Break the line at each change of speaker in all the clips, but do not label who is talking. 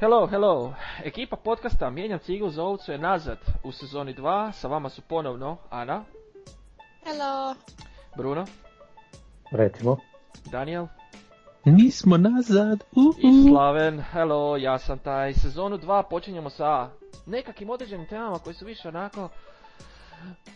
Hello, hello. Ekipa podcasta Mijenjam ciglu za ovcu je nazad u sezoni 2. Sa vama su ponovno Ana,
Hello.
Bruno,
Recimo.
Daniel
Mi smo nazad.
i
uhu.
Slaven. Hello, ja sam taj. Sezonu 2 počinjemo sa nekakvim određenim temama koje su više onako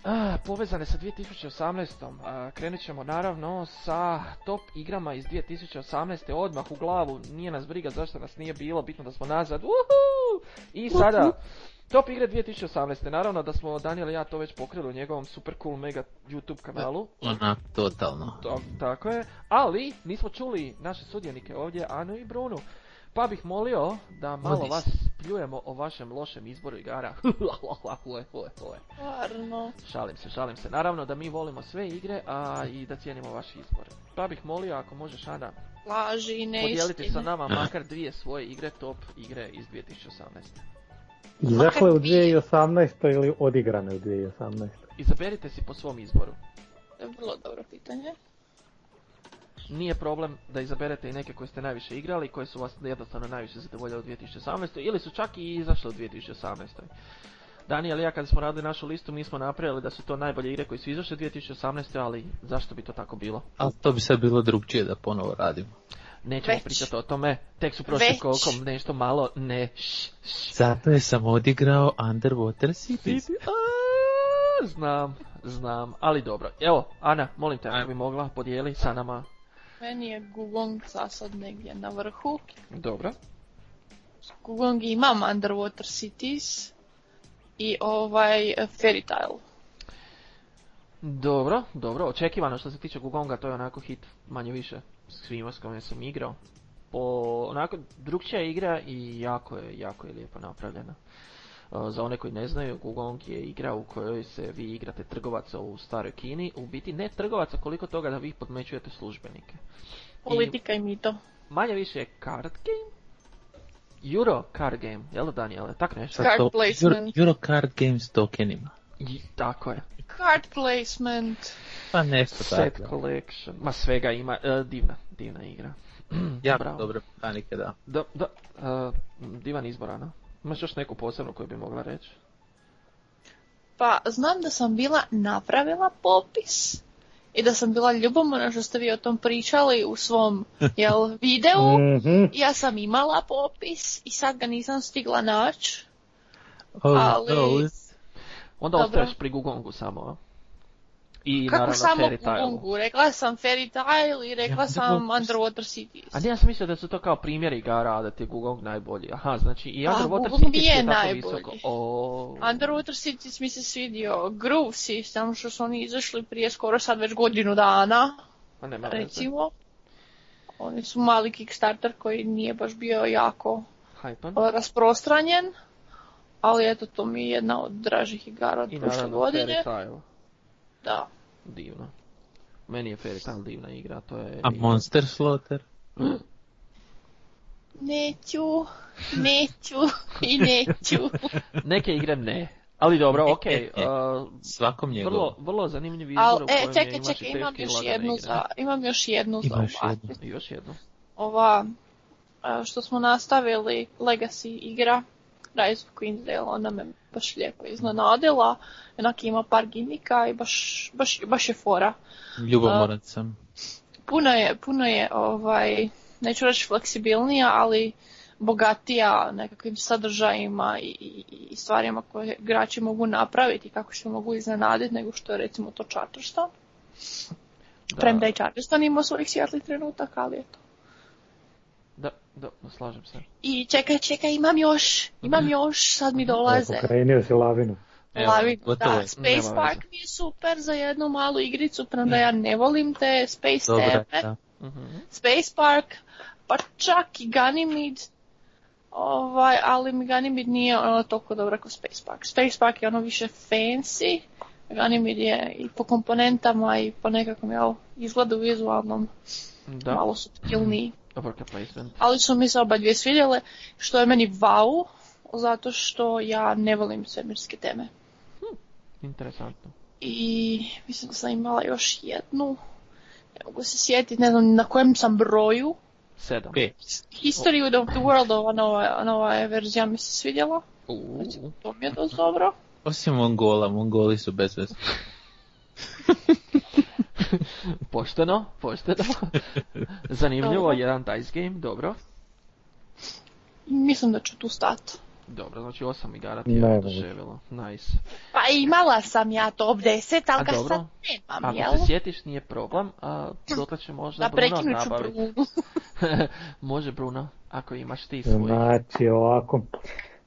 ah, povezane sa 2018. A, Krenut ćemo naravno sa top igrama iz 2018. odmah u glavu. Nije nas briga zašto nas nije bilo, bitno da smo nazad. Uhu! I sada Top igre 2018. Naravno da smo Daniel i ja to već pokrili u njegovom super cool mega YouTube kanalu.
Ona, totalno.
To- tako je. Ali nismo čuli naše sudionike ovdje, Anu i Brunu. Pa bih molio da malo
Vodi se.
vas pljujemo o vašem lošem izboru igara.
Stvarno.
šalim se, šalim se. Naravno da mi volimo sve igre, a i da cijenimo vaš izbor. Pa bih molio ako možeš Ana
Laži i neistine.
podijeliti sa nama makar dvije svoje igre, top igre iz 2018.
Izašle u 2018. ili odigrane u 2018.
Izaberite si po svom izboru.
To je vrlo dobro pitanje.
Nije problem da izaberete i neke koje ste najviše igrali, koje su vas jednostavno najviše zadovoljile u 2018. ili su čak i izašle u 2018. Daniel i ja kada smo radili našu listu mi smo napravili da su to najbolje igre koje su izašle 2018. ali zašto bi to tako bilo?
Ali to bi sad bilo drugčije da ponovo radimo.
Nećemo
Već.
pričati o tome, tek su prošli
Već.
koliko nešto malo, ne, š, š.
Zato je sam odigrao Underwater Cities.
A, Znam, znam, ali dobro. Evo, Ana, molim te, ako
Ajmo.
bi mogla, podijeli sa nama.
Meni je Gugong sad negdje na vrhu.
Dobro.
Gugong imam Underwater Cities i ovaj eh, Fairy Tale.
Dobro, dobro, očekivano što se tiče Gugonga, to je onako hit manje više svima s kojima sam igrao. Po, onako, drugčija igra i jako je, jako je lijepo napravljena. E, Za one koji ne znaju, Gugong je igra u kojoj se vi igrate trgovaca u staroj Kini, u biti ne trgovaca koliko toga da vi podmećujete službenike.
Politika i mito.
Manje više je card game? Euro card game, jel da Daniele? Tak nešto?
Sa
Card
to-
placement.
Euro, Eurocard Games tokenima.
I- tako je.
Card placement.
Pa nešto
Set
tako.
collection, ma svega ima, e, divna, divna igra.
Jako
Bravo.
dobre mehanike, da.
Da, da, e, divan izbor, Ana. Imaš još neku posebnu koju bi mogla reći?
Pa znam da sam bila napravila popis i da sam bila ljubomorna što ste vi o tom pričali u svom jel, videu.
Mhm.
Ja sam imala popis i sad ga nisam stigla naći.
Oh,
Ali-
those.
Onda
Dobro.
ostaješ pri Gugongu samo, a? I
Kako
naravno
samo
Fairy Taileu.
Gungu? Rekla sam Fairy Tail i rekla
Ja,
sam
dobro.
Underwater Cities.
A ne, ja sam mislio da su to kao primjer igara, da ti je Gugong najbolji. Aha, znači i
Pa,
Underwater
Gugong
Cities
je
je tako
najbolji.
visoko. O,
Underwater Cities mi se svidio Groove System što su oni izašli prije skoro sad već godinu dana,
ma pa nema veze.
recimo. Oni su mali Kickstarter koji nije baš bio jako
Hajpan.
rasprostranjen, ali eto to mi je jedna od dražih igara od
I
prošle
naravno Fairy
godine.
Tail.
Da.
Divno. Meni je Fairy Tail divna igra, to je...
A Monster Slaughter.
Neću, neću i neću.
Neke igre ne. Ali dobro,
E,
okej.
e, e.
e,
Svakom njegovom.
vrlo, vrlo zanimljiv izbor
Ali,
u kojem
e,
je
čekaj,
imaš i
čekaj,
teške
imam
i
još
lagane
jednu
igre.
za, imam još jednu za
Imaš
ovaj.
jednu.
I Još jednu.
ova a, što smo nastavili Legacy igra Rise of Queensdale, ona me baš lijepo iznenadila. Onak ima par gimika i baš, baš, baš je fora.
Ljubomoran sam.
Puno je, puno je ovaj, neću reći fleksibilnija, ali bogatija nekakvim sadržajima i, i, i stvarima koje igrači mogu napraviti i kako se mogu iznenaditi nego što je recimo to Charterstone.
Da,
Premda i Charterstone imao svojih svijetlih trenutaka, ali eto.
da, da, slažem se.
I čekaj, čekaj, imam još, imam još, sad mi dolaze.
Evo, Pokrenio si lavinu.
Evo,
Lavi,
gotovo
da,
Nema
je.
Space
veze.
Park mi je super za jednu malu igricu, premda ja ne volim te Space
Dobra,
teme.
da.
Mhm.
Space Park, pa čak i Ganymede, ovaj, ali mi Ganymede nije ono toliko dobro kao Space Park. Space Park je ono više fancy, Ganymede je i po komponentama i po nekakvom jel, izgledu vizualnom
Da,
malo subtilniji.
worker placement.
Ali su mi se oba dvije svidjele, što je meni wow, zato što ja ne volim svemirske teme.
Interesantno.
I mislim da sam imala još jednu, ne mogu se sjetiti, ne znam na kojem sam broju,
Sedam.
Pet.
History of the World, ova nova, nova je verzija mi se svidjela.
Uuu.
To mi je dosta dobro.
Osim Mongola, Mongoli su bez veze.
Pošteno, pošteno. Zanimljivo,
Dobro.
jedan dice game, dobro.
I mislim da ću tu stati.
Dobro, znači osam igara ti
Ne,
je
ne.
oduševilo. Nice.
Pa imala sam ja top 10,
A
ali ga
dobro.
sad nemam, jel?
Ako se sjetiš nije problem, a dotle će možda
Da
Bruno
prekinut ću
nabaviti.
Brunu.
Može Bruno, ako imaš ti svoj.
Znači ovako,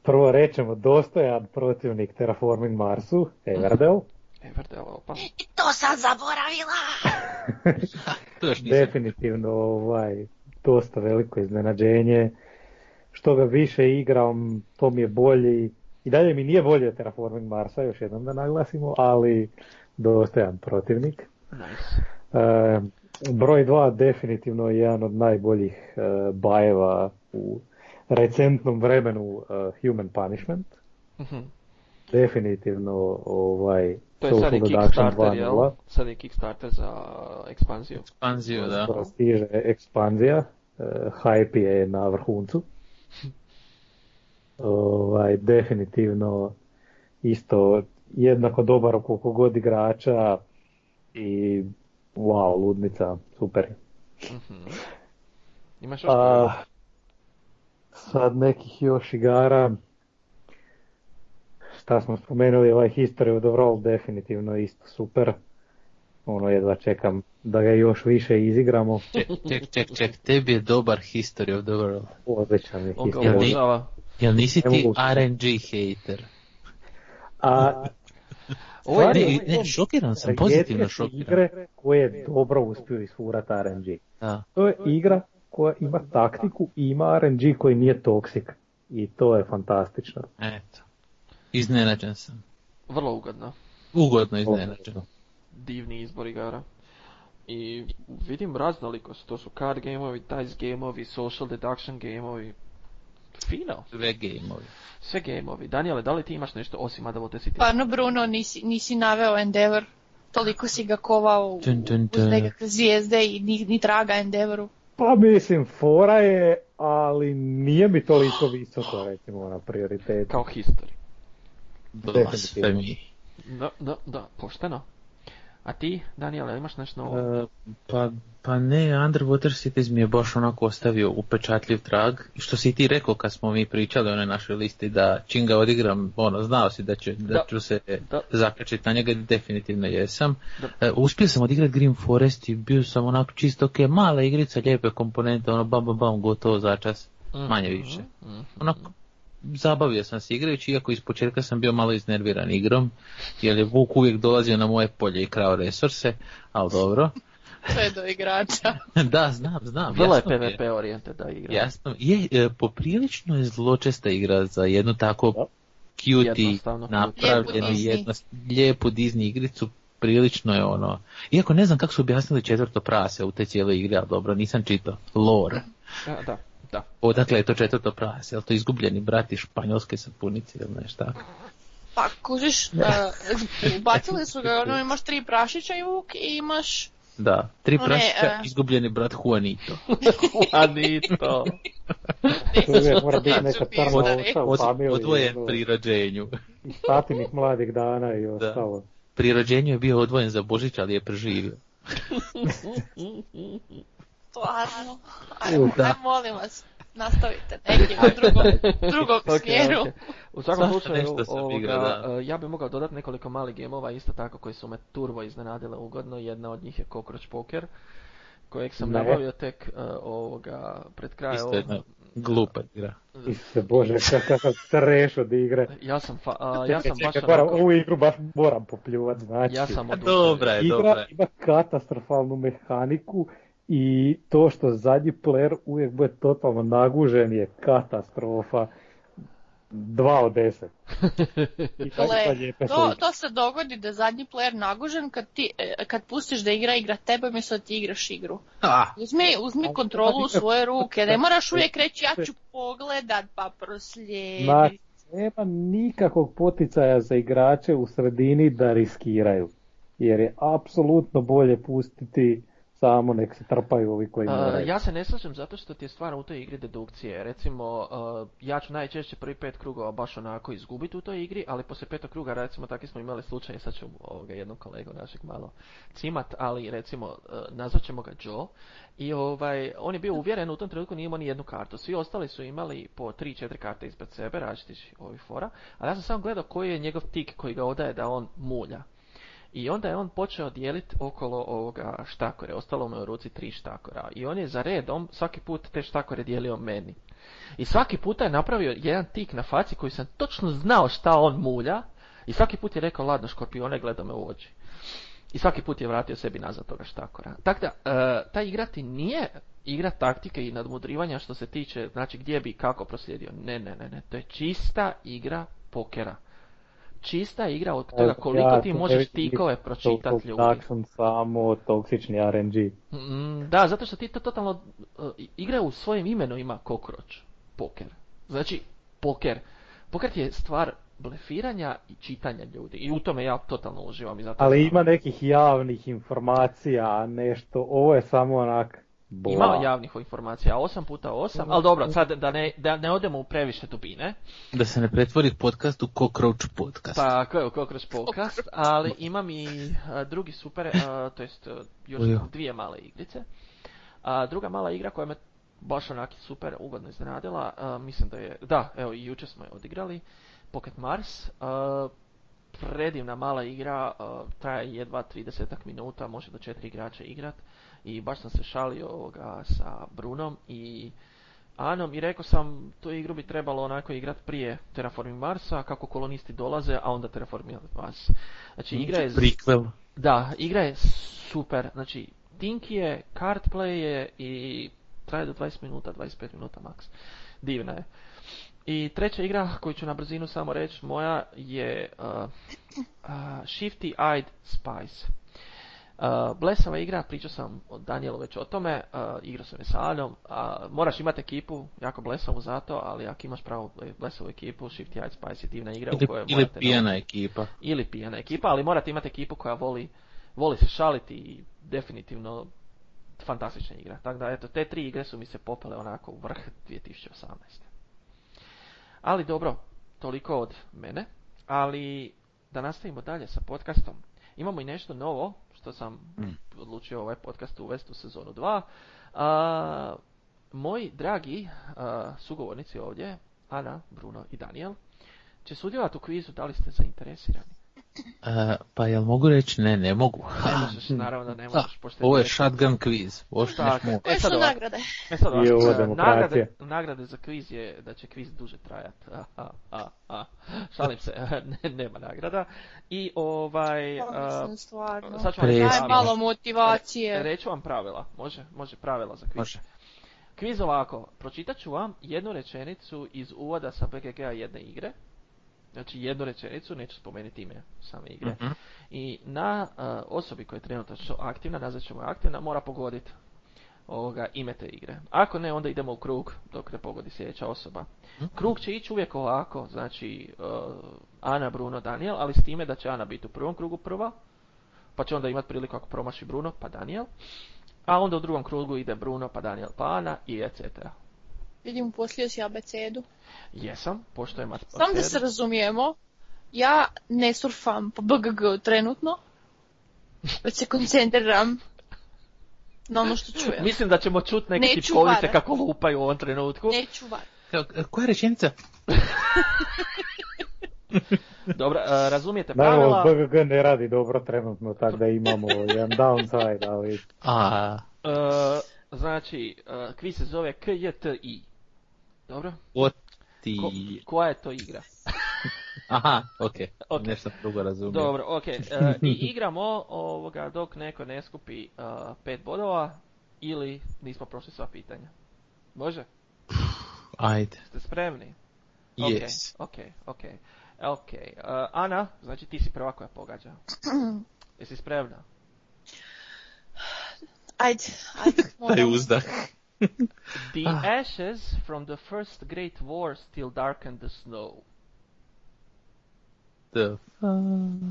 prvo rećemo dostojan protivnik Terraforming Marsu, Everdell,
Everdell, opa.
I to sam zaboravila!
To još nisam.
definitivno ovaj, dosta veliko iznenađenje. Što ga više igram, to mi je bolji. I dalje mi nije bolje od Terraforming Marsa, još jednom da naglasimo, ali dostojan protivnik.
Nice.
E, broj 2 definitivno je jedan od najboljih e, bajeva u recentnom vremenu e, Human Punishment.
Mhm.
Definitivno ovaj
To je sad i
Social Deduction
Kickstarter, jel?
2.0.
Sad je Kickstarter za uh, ekspanziju.
Ekspanziju, da.
Skoro stiže ekspanzija, e, hype je na vrhuncu. Ovaj, definitivno isto jednako dobar u koliko god igrača i wow, ludnica, super.
Mhm. Imaš još
A,
koju?
sad nekih još igara, šta smo spomenuli, ovaj History of the World definitivno isto super. Ono jedva čekam da ga još više izigramo.
Ček, ček, ček, ček, tebi je dobar History of the World.
Odličan je
On ga
History of the
obožava.
Jel nisi
Ne
ti
mogu.
RNG hater?
A
Ovo je
Stvari-
Ne, ne, šokiran sam, pozitivno
rijetke su
šokiran.
igre koje dobro uspiju isfurat RNG.
Da.
To je igra koja ima taktiku i ima RNG koji nije toksik. I to je fantastično.
Eto. Iznenađen sam.
vrlo ugodno.
Ugodno iznenađen.
Divni izbor igara. I vidim raznolikost, to su card gameovi, dice gameovi, social deduction gameovi. Fino.
Sve gameovi.
Sve gameovi. Daniele, da li ti imaš nešto osim Adavote City?
Stvarno, Bruno, nisi, nisi naveo Endeavor. Toliko si ga kovao u-
Dun, dun,
uz
dun.
nekakve zvijezde i ni, ni traga Endeavoru.
Pa mislim, fora je, ali nije mi toliko visoko, recimo, ono, na prioritetu.
Kao history.
Blasfemi.
Da, da, da, pošteno. A ti, Daniele, imaš nešto novo?
E, pa, pa ne, Underwater Cities mi je baš onako ostavio upečatljiv trag. I Što si ti rekao kad smo mi pričali o onoj našoj listi da čim ga odigram, ono, znao si da, će, da,
Da.
ću se
Da.
zakačiti na njega, definitivno jesam.
Da.
E, uspio sam odigrat Green Forest i bio sam onako čisto ok, mala igrica, lijepe komponente, ono bam bam bam, gotovo začas, manje
Mhm,
više.
mhm.
Onako, zabavio sam se igrajući, iako iz početka sam bio malo iznerviran igrom, jer je Vuk uvijek dolazio na moje polje i krao resurse, ali dobro.
Sve do igrača.
da, znam, znam.
Vrlo je
jasno mi
PvP orijente da igra.
Jasno. Je, e, poprilično je zločesta igra za jednu tako cute i
Jednostavno.
napravljenu
Lijepu Disney.
jedno, lijepu Disney igricu. Prilično je ono... Iako ne znam kako su objasnili četvrto prase u te cijeloj igri, ali dobro, nisam čitao. Lore.
A, da, da.
Odakle je to četvrto prase? Jel to izgubljeni brati španjolske sapunice ili nešto tako?
Pa kužiš, eh, ubacili su ga, ono imaš tri prašića i vuk i imaš...
Da, tri
One,
prasića,
e.
izgubljeni brat Juanito.
Juanito.
To uvijek mora biti neka
Od-
crna
od-
ovca u
Od,
familiji.
odvojen
ono,
pri rođenju.
iz tatinih mladih dana i ostalo.
Pri rođenju je bio odvojen za Božić, ali je preživio.
Stvarno. Ajmo,
Da.
aj, molim vas, nastavite nekim u drugom, drugom
Ok,
smjeru.
ok. U svakom
Svašta
slučaju,
nešto se
ovoga,
igra, da.
eh, ja bih mogao dodati nekoliko malih gemova isto tako koji su me turbo iznenadile ugodno. Jedna od njih je Cockroach Poker kojeg sam
Ne.
nabavio tek eh, ovoga pred kraj
Isto
ovog-
jedna glupa igra.
Isuse Bože, kakav treš od igre.
Ja sam, fa- a, ja sam baš
Čekaj, moram,
onako-
ovu igru baš moram popljuvat, znači.
ja sam oduševljen.
Dobra je, dobra
Igra
je.
ima katastrofalnu mehaniku i to što zadnji player uvijek bude totalno nagužen je katastrofa. Dva od deset. I tako
Gle,
sad lijepe
to,
slike.
to se dogodi da je zadnji player nagužen kad, ti, eh, kad pustiš da igra igra tebe umjesto da ti igraš igru.
Ah,
Uzmi, uzmi
znači,
Ali
kontrolu
to
u
nikako-
svoje ruke, ne moraš uvijek reći ja ću pogledat pa proslijedit.
e,
Znači, nema nikakvog poticaja za igrače u sredini da riskiraju. Jer je apsolutno bolje pustiti samo nek se trpaju ovi koji
Uh,
moraju.
ja se ne slažem zato što ti je stvar u toj igri dedukcije. Recimo, uh, ja ću najčešće prvi pet krugova baš onako izgubiti u toj igri, ali poslije petog kruga recimo takvi smo imali slučaj, sad ću ovoga, jednog kolegu našeg malo cimat, ali recimo uh, nazvat ćemo ga Joe i ovaj, on je bio uvjeren u tom trenutku nije imao ni jednu kartu. Svi ostali su imali po 3-4 karte ispred sebe, različitih ovih fora, ali ja sam samo gledao koji je njegov tik koji ga odaje da on mulja. I onda je on počeo dijeliti okolo ovoga štakore. Ostalo mu je u ruci tri štakora. I on je za redom svaki put te štakore dijelio meni. I svaki puta je napravio jedan tik na faci koji sam točno znao šta on mulja. I svaki put je rekao, ladno škorpione, gleda me u oči. I svaki put je vratio sebi nazad toga štakora. Tako da, e, ta igra ti nije igra taktike i nadmudrivanja što se tiče, znači gdje bi i kako proslijedio. Ne, ne, ne, ne. To je čista igra pokera. Čista igra od toga koliko
Ja
ti
tu ne
možeš
vidim
tikove
nikakvog
pročitati ljudi.
Action samo toksični RNG.
Mm, Da, zato što ti to totalno uh, igra u svojem imenu ima kokroč, poker. Znači, poker. Poker ti je stvar blefiranja i čitanja ljudi. I u tome ja totalno uživam. I zato
Ali ima nekih javnih informacija, nešto, ovo je samo onak... bla.
Ima javnih informacija, 8 puta 8, ali dobro, sad da ne, da ne odemo u previše dubine,
Da se ne pretvori podcast u Cockroach podcast.
pa ko je Kokroč Podcast, ali imam i a, drugi super, a, to jest a, još
Ujo.
dvije male igrice. A, druga mala igra koja me baš onaki super ugodno iznenadila, a, mislim da je, da, evo i jučer smo je odigrali, Pocket Mars. a, predivna mala igra, a, traje jedva 30 minuta, može do četiri igrača igrat. I baš sam se šalio ovoga sa Brunom i Anom i rekao sam tu igru bi trebalo onako igrat prije Terraforming Marsa, kako kolonisti dolaze, a onda Terraforming Mars. Znači igra je...
Prequel.
Da, igra je super. Znači, Tinky je, card play je i traje do 20 minuta, 25 minuta maks. Divna je. I treća igra koju ću na brzinu samo reći moja je uh, uh, Shifty Eyed Spice. Uh, blesava igra, pričao sam o Danielu već o tome, uh, igrao sam je sa Aljom, a moraš imati ekipu, jako blesavu za to, ali ako imaš pravu blesavu ekipu, Shifty Eyed Spice je divna igra u kojoj
Ili, ili
morate
pijana ekipa.
ili pijana ekipa, ali morate imati ekipu koja voli, voli se šaliti i definitivno fantastična igra. Tako da, eto, te tri igre su mi se popele onako u vrh 2018. Ali dobro, toliko od mene, ali da nastavimo dalje sa podcastom. Imamo i nešto novo, što sam
Mm.
odlučio ovaj podcast uvesti u sezonu 2. A, moji dragi a, sugovornici ovdje, Ana, Bruno i Daniel, će sudjelovati u kvizu, da li ste zainteresirani?
E, pa jel mogu reći? Ne, ne mogu.
Ne možeš, naravno da ne
Pa, mm, Da,
možeš, pošto
ovo je
direktno.
shotgun quiz. Oštineš
Tako.
mu.
E,
Koje
sad
su
ovako.
nagrade?
E sad ovako,
I ovo
e,
demokracija.
nagrade, nagrade za kviz je da će kviz duže trajat. A, a, a, a. Šalim se, ne- nema nagrada. I ovaj...
Pa,
a,
mislim, stvarno.
sad ću vam
Prezime.
reći znači, e,
Daj
Jesmo.
pravila.
malo motivacije.
Reću vam pravila, može? Može pravila za kviz.
Može.
Kviz ovako, pročitat ću vam jednu rečenicu iz uvoda sa BGG-a jedne igre. Znači jednu rečenicu, neću spomenuti ime same igre.
Mhm.
I na e, osobi koja je trenutačno aktivna, nazvat ćemo je aktivna, mora pogoditi ovoga, ime te igre. Ako ne, onda idemo u krug dok ne pogodi sljedeća osoba.
Mhm.
Krug će ići uvijek ovako, znači e, Ana, Bruno, Daniel, ali s time da će Ana biti u prvom krugu prva, pa će onda imati priliku ako promaši Bruno, pa Daniel. A onda u drugom krugu ide Bruno, pa Daniel, pa Ana i etc.
Vidim, poslije si abecedu.
Jesam, poštojem at-
Samo da
abecedu.
se razumijemo, ja ne surfam po BGG trenutno, već se koncentriram na ono što čujem.
Mislim da ćemo čut neke
Neću
tipkovice
varat.
kako lupaju u ovom trenutku.
Neću var.
Kao, e, Koja je rečenica?
Dobro, e, razumijete
Naravno,
pravila.
BGG ne radi dobro trenutno, tako da imamo jedan downside, ali
A,
E, znači, uh, kviz se zove KJTI. Dobro?
what ti...
Ko, koja je to igra?
Aha, okej.
Ok.
Nešto sam drugo razumijem.
Dobro, ok. E, I igramo ovoga dok neko ne skupi e, pet bodova ili nismo prošli sva pitanja. Može?
Ajde.
Ste spremni?
Yes.
Ok, ok, ok. Ok, e, Ana, znači ti si prva koja pogađa. Jesi spremna?
Ajde, ajde.
Taj
moram.
uzdah.
The
Ah.
ashes from the first great war still darken the snow.
The... Uh,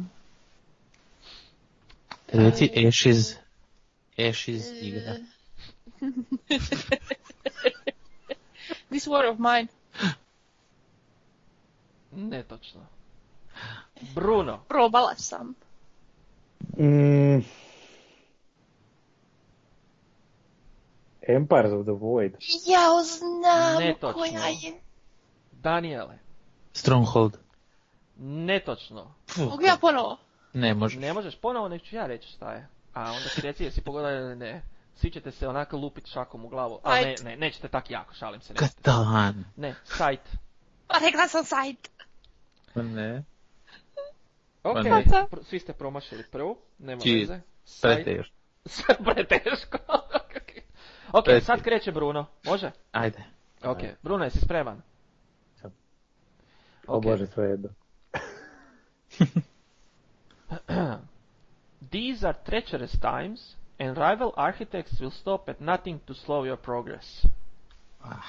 Reci ashes. Ashes igra.
This War of Mine.
Netočno. Bruno,
Probala sam.
Mm. Empires of the Void.
Ja znam
Netočno.
koja je.
Daniele,
Stronghold.
netočno.
Mogu ja ponovo?
Ne može.
Ne možeš ponovo, nek ću ja reći šta je. A onda ti reci jesi pogodila ili ne. Svi ćete se onako lupit šakom u glavu. A ne,
Ajde.
ne, nećete tak jako, šalim se. Ne,
Katan.
ne sajt.
Pa rekla sam sajt.
Pa ne.
Ok,
Pa ne.
pr- svi ste promašili prvu, nema
Ti-
veze. Sajt.
Prete još.
Preteško. ok,
Prete.
sad kreće Bruno, može?
Ajde.
Ok, Bruno, jesi spreman?
Sam.
O
Ok.
bože, sve jedno.
These are treacherous times, and rival architects will stop at nothing to slow your progress.
Ah.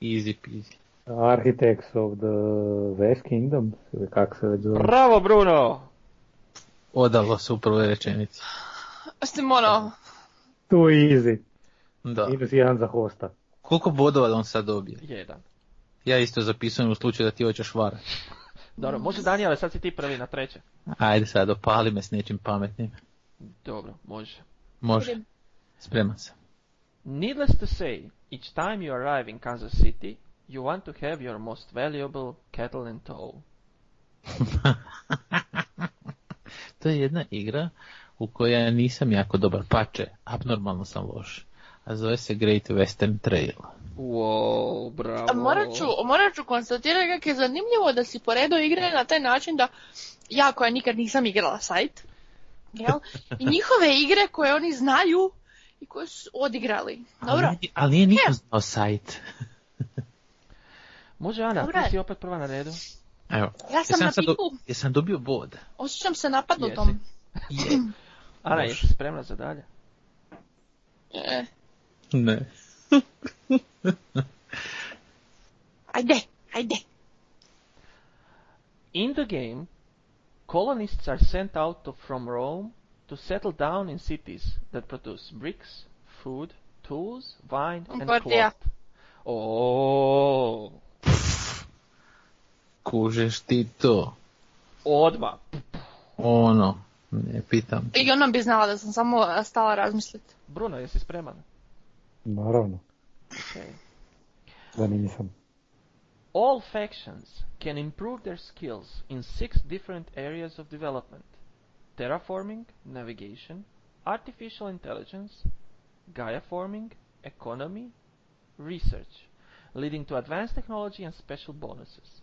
Easy peasy.
Architects of the West Kingdom, ili kako se već zove.
Bravo, Bruno!
Odalo se u prvoj rečenici.
Osim ono,
Too easy.
Da.
Minus jedan za hosta.
Koliko bodova da on sad dobije?
Jedan.
Ja isto zapisujem u slučaju da ti hoćeš varati.
Dobro, može Daniele, sad si ti prvi na treće.
Ajde sad, opali me s nečim pametnim.
Dobro, može.
Može. Spreman sam.
Needless to say, each time you arrive in Kansas City, you want to have your most valuable cattle in tow.
To je jedna igra u kojoj ja nisam jako dobar pače, abnormalno sam loš. A zove se Great Western Trail.
Wow, bravo.
A morat ću, morat ću konstatirati kako je zanimljivo da si poredao igre na taj način da ja koja nikad nisam igrala sajt, jel? I njihove igre koje oni znaju i koje su odigrali. Dobro,
Ali, ali nije niko znao sajt.
Može Ana,
Dobra
ti
je.
si opet prva na redu.
Evo,
ja sam
jesam
na
sad do-
piku,
jesam dobio bod.
osjećam se napadnutom.
Je.
Ana,
Može.
jesi spremna za dalje?
E,
Ne.
ajde, ajde.
In the game, colonists are sent out to- from Rome to settle down in cities that produce bricks, food, tools, wine, and
Lombardija.
cloth. Oh,
Kužeš ti to.
odmah.
Ono, ne pitam.
I ona bi znala da sam samo a, stala razmisliti.
Bruno, jesi spreman?
Naravno,
Okay.
da nisam.
All factions can improve their skills in six different areas of development terraforming, navigation, artificial intelligence, Gaia forming, economy, research, leading to advanced technology and special bonuses.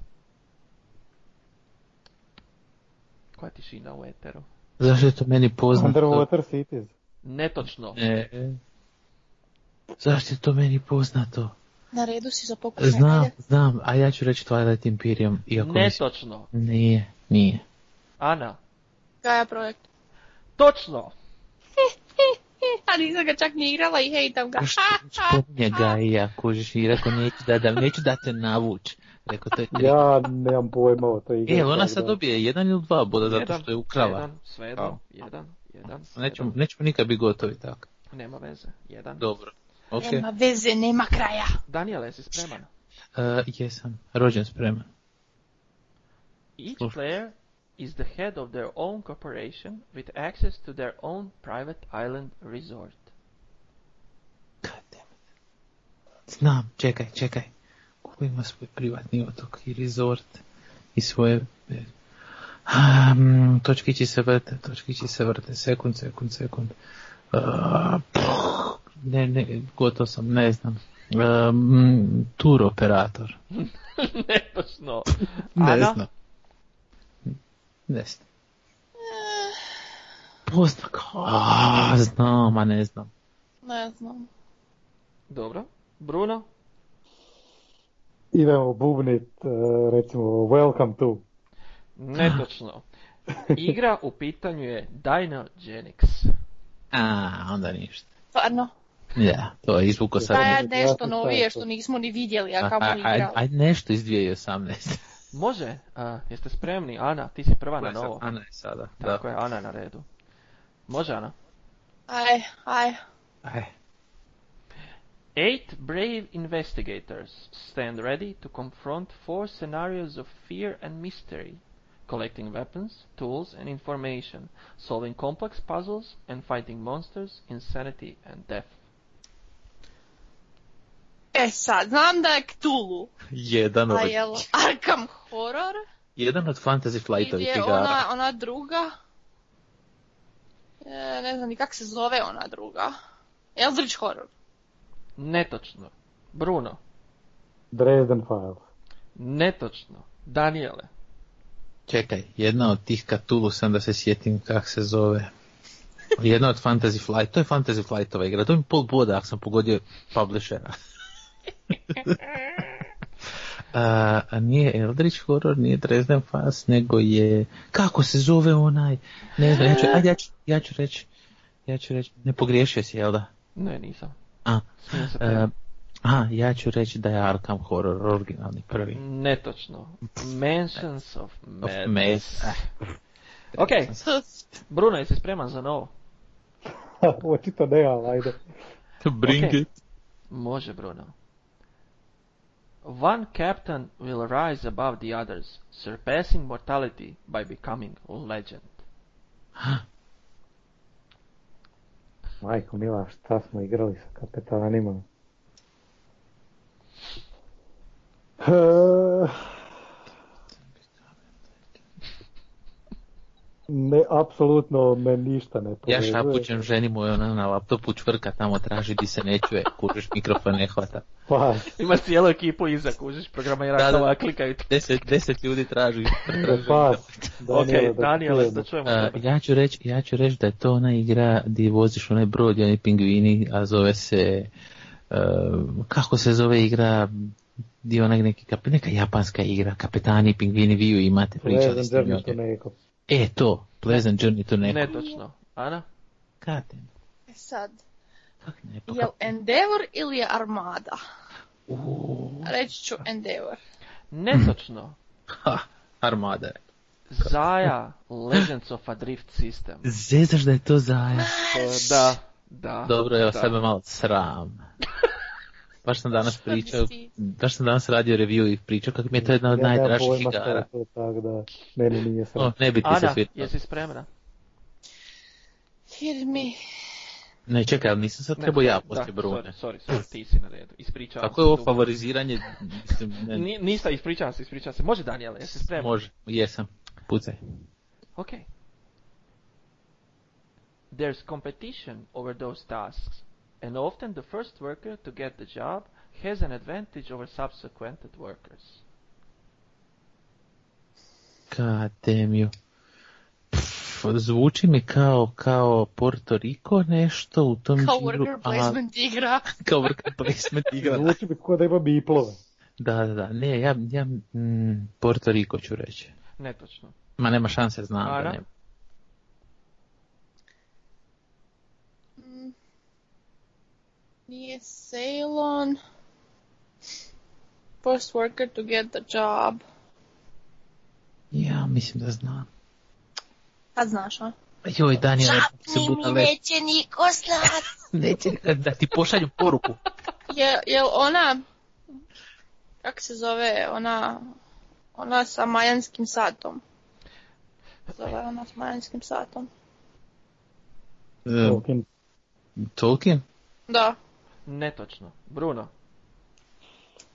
Koja tišina u eteru?
Zašto je to meni poznato?
Underwater Cities.
Netočno.
Ne. Zašto je to meni poznato?
Na redu si za pokušaj.
Znam,
ajde.
znam, a ja ću reći Twilight Imperium, iako mislim-
Netočno.
Nije, nije.
Ana,
Gaja projekt.
točno.
E, A nisam ga čak ni igrala i hejtam ga.
Što spominje Gaija, kužiš, i rekao neću da, da neću da te navuć. Rekao to je tri.
Ja nemam pojma o toj igri.
E, ona
tako
sad
da-
dobije jedan ili dva boda zato
Jedan,
što je ukrala.
Jedan, svejedno, jedan, jedan,
Nećemo,
jedan.
nećemo nikad biti gotovi tako.
Nema veze, jedan.
Dobro. Ok,
Nema veze, nema kraja.
Daniel, jesi spreman?
E, jesam, rođen spreman.
Each
Slušaj.
player is the head of their own corporation with access to their own private island resort.
Goddammit. Znam, čekaj, čekaj. Ko ima svoj privatni otok i resort i svoje... Um, točkići se vrte, točkići se vrte, sekund, sekund, sekund. Uh, ne, ne, gotov sam, ne znam. Um, tur operator.
Netočno.
Ne
Ana?
znam. Ne znam. Poznak. A, znam, a ne znam.
Ne znam.
Dobro. Bruno?
Idemo bubnit, e, recimo, Welcome to.
Netočno. Igra u pitanju je Dynogenics.
A, onda ništa.
Stvarno.
Ja, to je izvuko sad.
Pa ja
Sad-
nešto novije što nismo ni vidjeli, a kamo ni
Ajde,
igrali.
ajde nešto iz 2018.
Može, a, jeste spremni? Ana, ti si prva Pa na novo.
Ana je sada.
Tako je, Ana je na redu. Može, Ana?
Aj, aj.
E,
Aj,
Eight brave investigators stand ready to confront four scenarios of fear and mystery, collecting weapons, tools, and information, solving complex puzzles, and fighting monsters, insanity, and death.
E sad, znam da je Cthulhu,
Jedan od,
a jel Arkham Horror?
jedan od Fantasy
Pa I
Flightovih
je
igara.
ona, ona druga? E, ne znam ni kak se zove ona druga. Eldritch Horror.
Netočno. Bruno,
Dresden Files.
netočno. Daniele,
Čekaj, jedna od tih Cthulhu sam da se sjetim kak se zove. Jedna od Fantasy Flight, to je Fantasy Flightova igra, to mi pol boda ako sam pogodio publishera. a, a nije Eldritch Horror, nije Dresden Files, nego je, kako se zove onaj, ne znam, ja ću, ajde, ja ću, ja ću reći, ja ću reći, ne pogriješio si, jel da?
ne nisam.
A,
Smijem se
e,
tebi.
a, ja ću reći da je Arkham Horror originalni prvi.
Netočno. Mansions of
Of
Madness.
Maze. Ah,
Ok, Bruno, jesi spreman za novo?
Ha, Očito ne, ali ajde.
Bring
Ok.
it.
Može, Bruno. One captain will rise above the others, surpassing mortality by becoming legend.
Majko Mila, šta smo igrali sa kapetanima? E, Ne, apsolutno me ništa ne
Ja
povezuje.
šapućem ženi moju, ona na laptopu čvrka tamo traži di se ne čuje, kužiš mikrofon ne hvata.
Pa,
Ima cijelu ekipu iza, kužiš, programera
Da, da.
koja klikaju.
Deset, deset ljudi traži. traži.
pas.
Ok,
Daniele, da
Daniele,
čujemo.
da čujemo
A,
tebe.
E, ja ću reći ja ću reći da je to ona igra di voziš onaj brod i oni pingvini, a zove se, e, kako se zove igra, di onaj neki, kap- neka japanska igra, kapetani, pingvini, vi ju imate, pričali
Pleasant
ste mi
Journey to
ovdje.
neko.
E to, Pleasant Journey to neko.
Netočno. Ana?
Katen,
E sad,
kak ne, pa
jel
kak-
Endeavor ili je Armada?
Uuu,
Reći ću Endeavor.
Netočno.
ha, armada. je.
Zaja Legends of a Drift System. E,
Zezaš da je to zaja.
Da, da.
Dobro,
da.
evo sad me malo sram. Baš sam danas
Šta bi
pričao,
si-
baš sam danas radio review i pričao kako mi je to jedna od
Ja nemam
najdražih
pojma šta je
igara.
to, tako da meni nije sram.
O, ne bi ti se
Ana,
svidjelo.
jesi spremna?
Hit me.
Ne, čekaj, ali nisam sad trebao
Ne,
ja
da,
poslije Brune.
Sorry, sorry, sorry, ti si na redu. Ispričavam
Kako je ovo
tu.
favoriziranje? Mislim, ne,
Ni- Nisam, ispričavam se, ispričavam se. Može Daniele, jesi spreman?
Može, jesam. Pucaj.
Okay. There's competition over those tasks, and often the first worker to get the job has an advantage over subsequent workers.
Katemiju. Pff, Zvuči mi kao, kao Porto Rico nešto u
Kao
tom žanru,
worker
a-
placement igra.
Kao worker placement igra.
Zvuči mi kao da ima biplove.
Da, da, da. Ne, ja, ja mm, Porto Rico ću reći.
Netočno.
Ma nema šanse, znam
Ara?
da nema.
Mm. Nije Ceylon. First worker to get the job.
Ja mislim da znam.
A znaš, a?
Joj, Daniel, se buta le...
niko slat.
Neće nikad da ti pošalju poruku.
Je, jel ona, kak se zove, ona, ona sa majanskim satom. Zove ona s majanskim satom.
E,
Tolkien.
Tolkien?
Da.
Netočno. Bruno,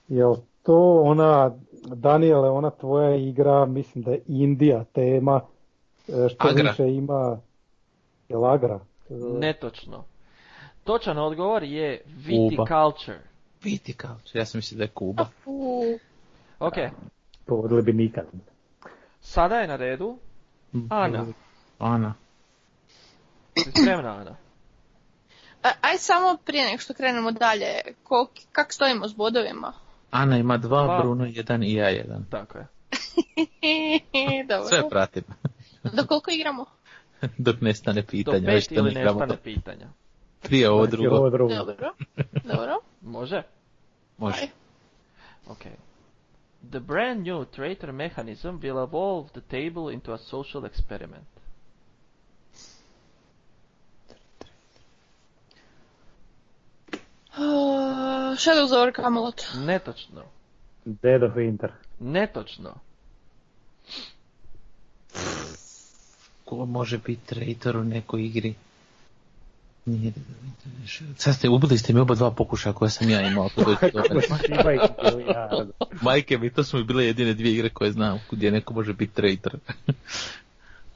Jel to ona, Daniele, ona tvoja igra, mislim da je Indija tema, e, što
Agra.
više ima, jel Agra?
netočno. Točan odgovor je viticulture.
Viti kao, ja sam mislio da je Kuba.
U,
Ok,
Povodili bi nikad.
sada je na redu Ana.
Ana.
Si spremna Ana?
a- aj samo prije nego što krenemo dalje, kol, kak stojimo s bodovima?
Ana ima dva,
Dva.
Bruno jedan i ja jedan.
Tako je.
Sve
Dobro.
pratim,
Do koliko igramo?
dok nestane
Do
pitanja. već
pet
to
ili
ne igramo.
nestane pitanja.
Prije ovo
Znači, Ovo
drugo.
drugo.
Dobro. Dobro.
Može?
Može.
Okay. The brand new traitor mechanism will evolve the table into a social experiment.
Shadows over Camelot.
Netočno.
Dead of Winter.
Netočno.
Ko može biti traitor u nekoj igri? Nije, sad ste, ubili ste mi oba dva pokušaja koja sam ja imao. To je dobro.
Ima ih milijardu.
Majke mi, to su mi bile jedine dvije igre koje znam gdje neko može biti traitor.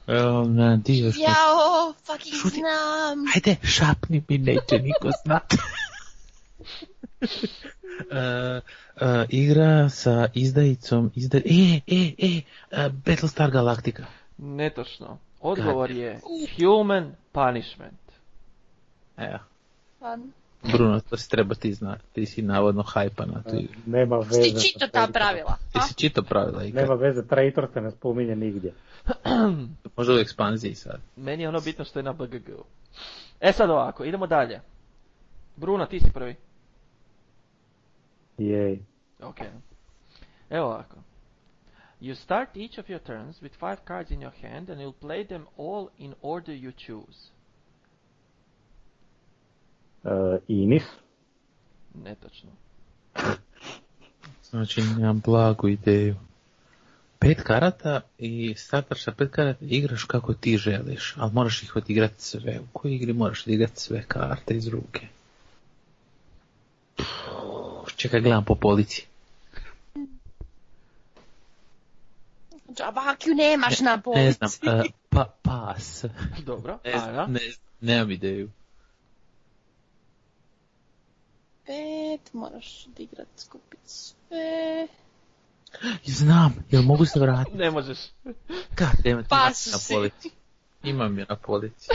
Evo, na dio što...
Jao, fucking
Šuti.
znam.
Ajde, šapni mi, neće niko znat. E, e, igra sa izdajicom izda... E, e, e, e, Battlestar Galactica.
Netočno. Odgovor je human punishment.
Evo,
Fan.
Bruno, to si treba ti znati. Ti si navodno hajpa na tu igru.
Nema veze.
Ti čito ta pravila.
Ti
a?
si čito pravila igre.
Nema veze, Traitor se ne spominje nigdje.
Možda u ekspanziji sad.
Meni je ono bitno što je na BGG-u. E sad ovako, idemo dalje. Bruno, ti si prvi.
Jej.
Ok. Evo ovako. You start each of your turns with five cards in your hand and you'll play them all in order you choose.
E, Inis.
Netočno.
Znači, imam blagu ideju. Pet karata i startaš sa pet karata igraš kako ti želiš, ali moraš ih odigrati sve. U kojoj igri moraš odigrati sve karte iz ruke? Pff, Čekaj, gledam po polici.
Džaba hakju nemaš na polici.
Ne znam, e, pa, pas.
Dobro,
Ne
Ana.
znam, ne znam, nemam ideju.
Pet, moraš odigrat, skupit sve.
Znam, jel mogu se vratiti?
Ne možeš.
Kad nema
Pas
na
si.
polici? Imam je na polici.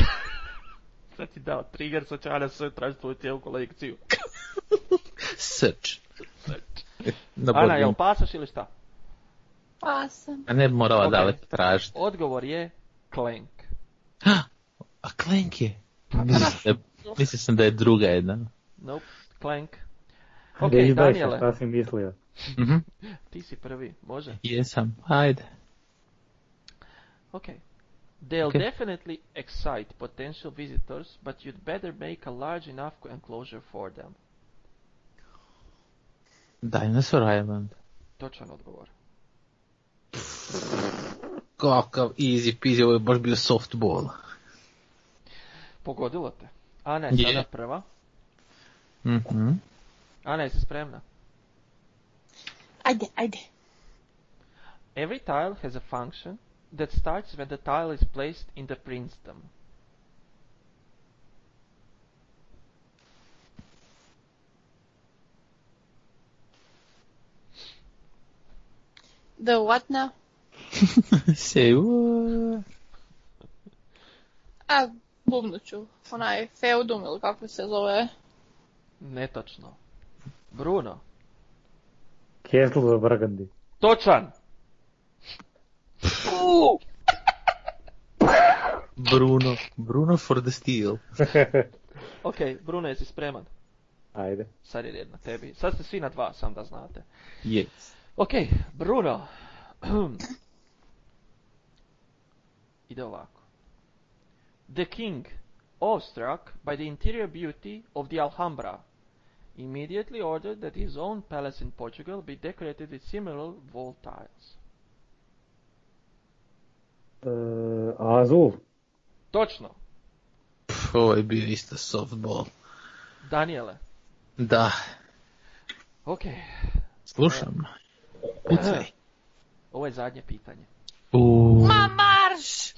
Sad ti dao trigger, sad će Ana sve tražiti tvoju cijelu kolekciju.
Srč. Na
Ana, jel
bodvinu.
pasaš ili šta?
Pa sam.
A ne bi morala
Ok.
daleko tražiti.
Odgovor je Clank.
A Klenk je. Mislio sam da- Mislio sam da je druga jedna.
Nope, Clank. Ok,
Okay, izdaj se
Daniele,
šta si mislio.
Mhm.
ti si prvi, može.
Jesam, ajde.
Okay. They'll
Okay.
definitely excite potential visitors, but you'd better make a large enough enclosure for them.
Dinosaur Island.
Točan odgovor.
Kakav easy peasy, ovo je baš bio softball.
Pogodilo te. Ana je
Je.
sada prva.
Mhm.
Ana, jesi spremna?
Ajde, ajde.
Every tile has a function that starts when the tile is placed in the princedom.
The what now?
Say what?
A, bubnut ću. Onaj feudum ili kako se zove.
Netočno. Bruno.
Castle za Burgundy.
Točan!
Uuu,
Bruno. Bruno for the steal.
Ok, Bruno, jesi spreman?
Ajde.
Sad je red na tebi. Sad ste svi na dva, sam da znate.
Yes.
Ok, Bruno. Ide ovako. The king, awestruck by the interior beauty of the Alhambra, immediately ordered that his own palace in Portugal be decorated with similar wall tiles.
E, Azul.
Točno,
Pff, ovo je bio isto softball.
Daniele.
Da,
Ok,
slušam. Pucaj.
ovo je zadnje pitanje.
Uuu,
ma marš!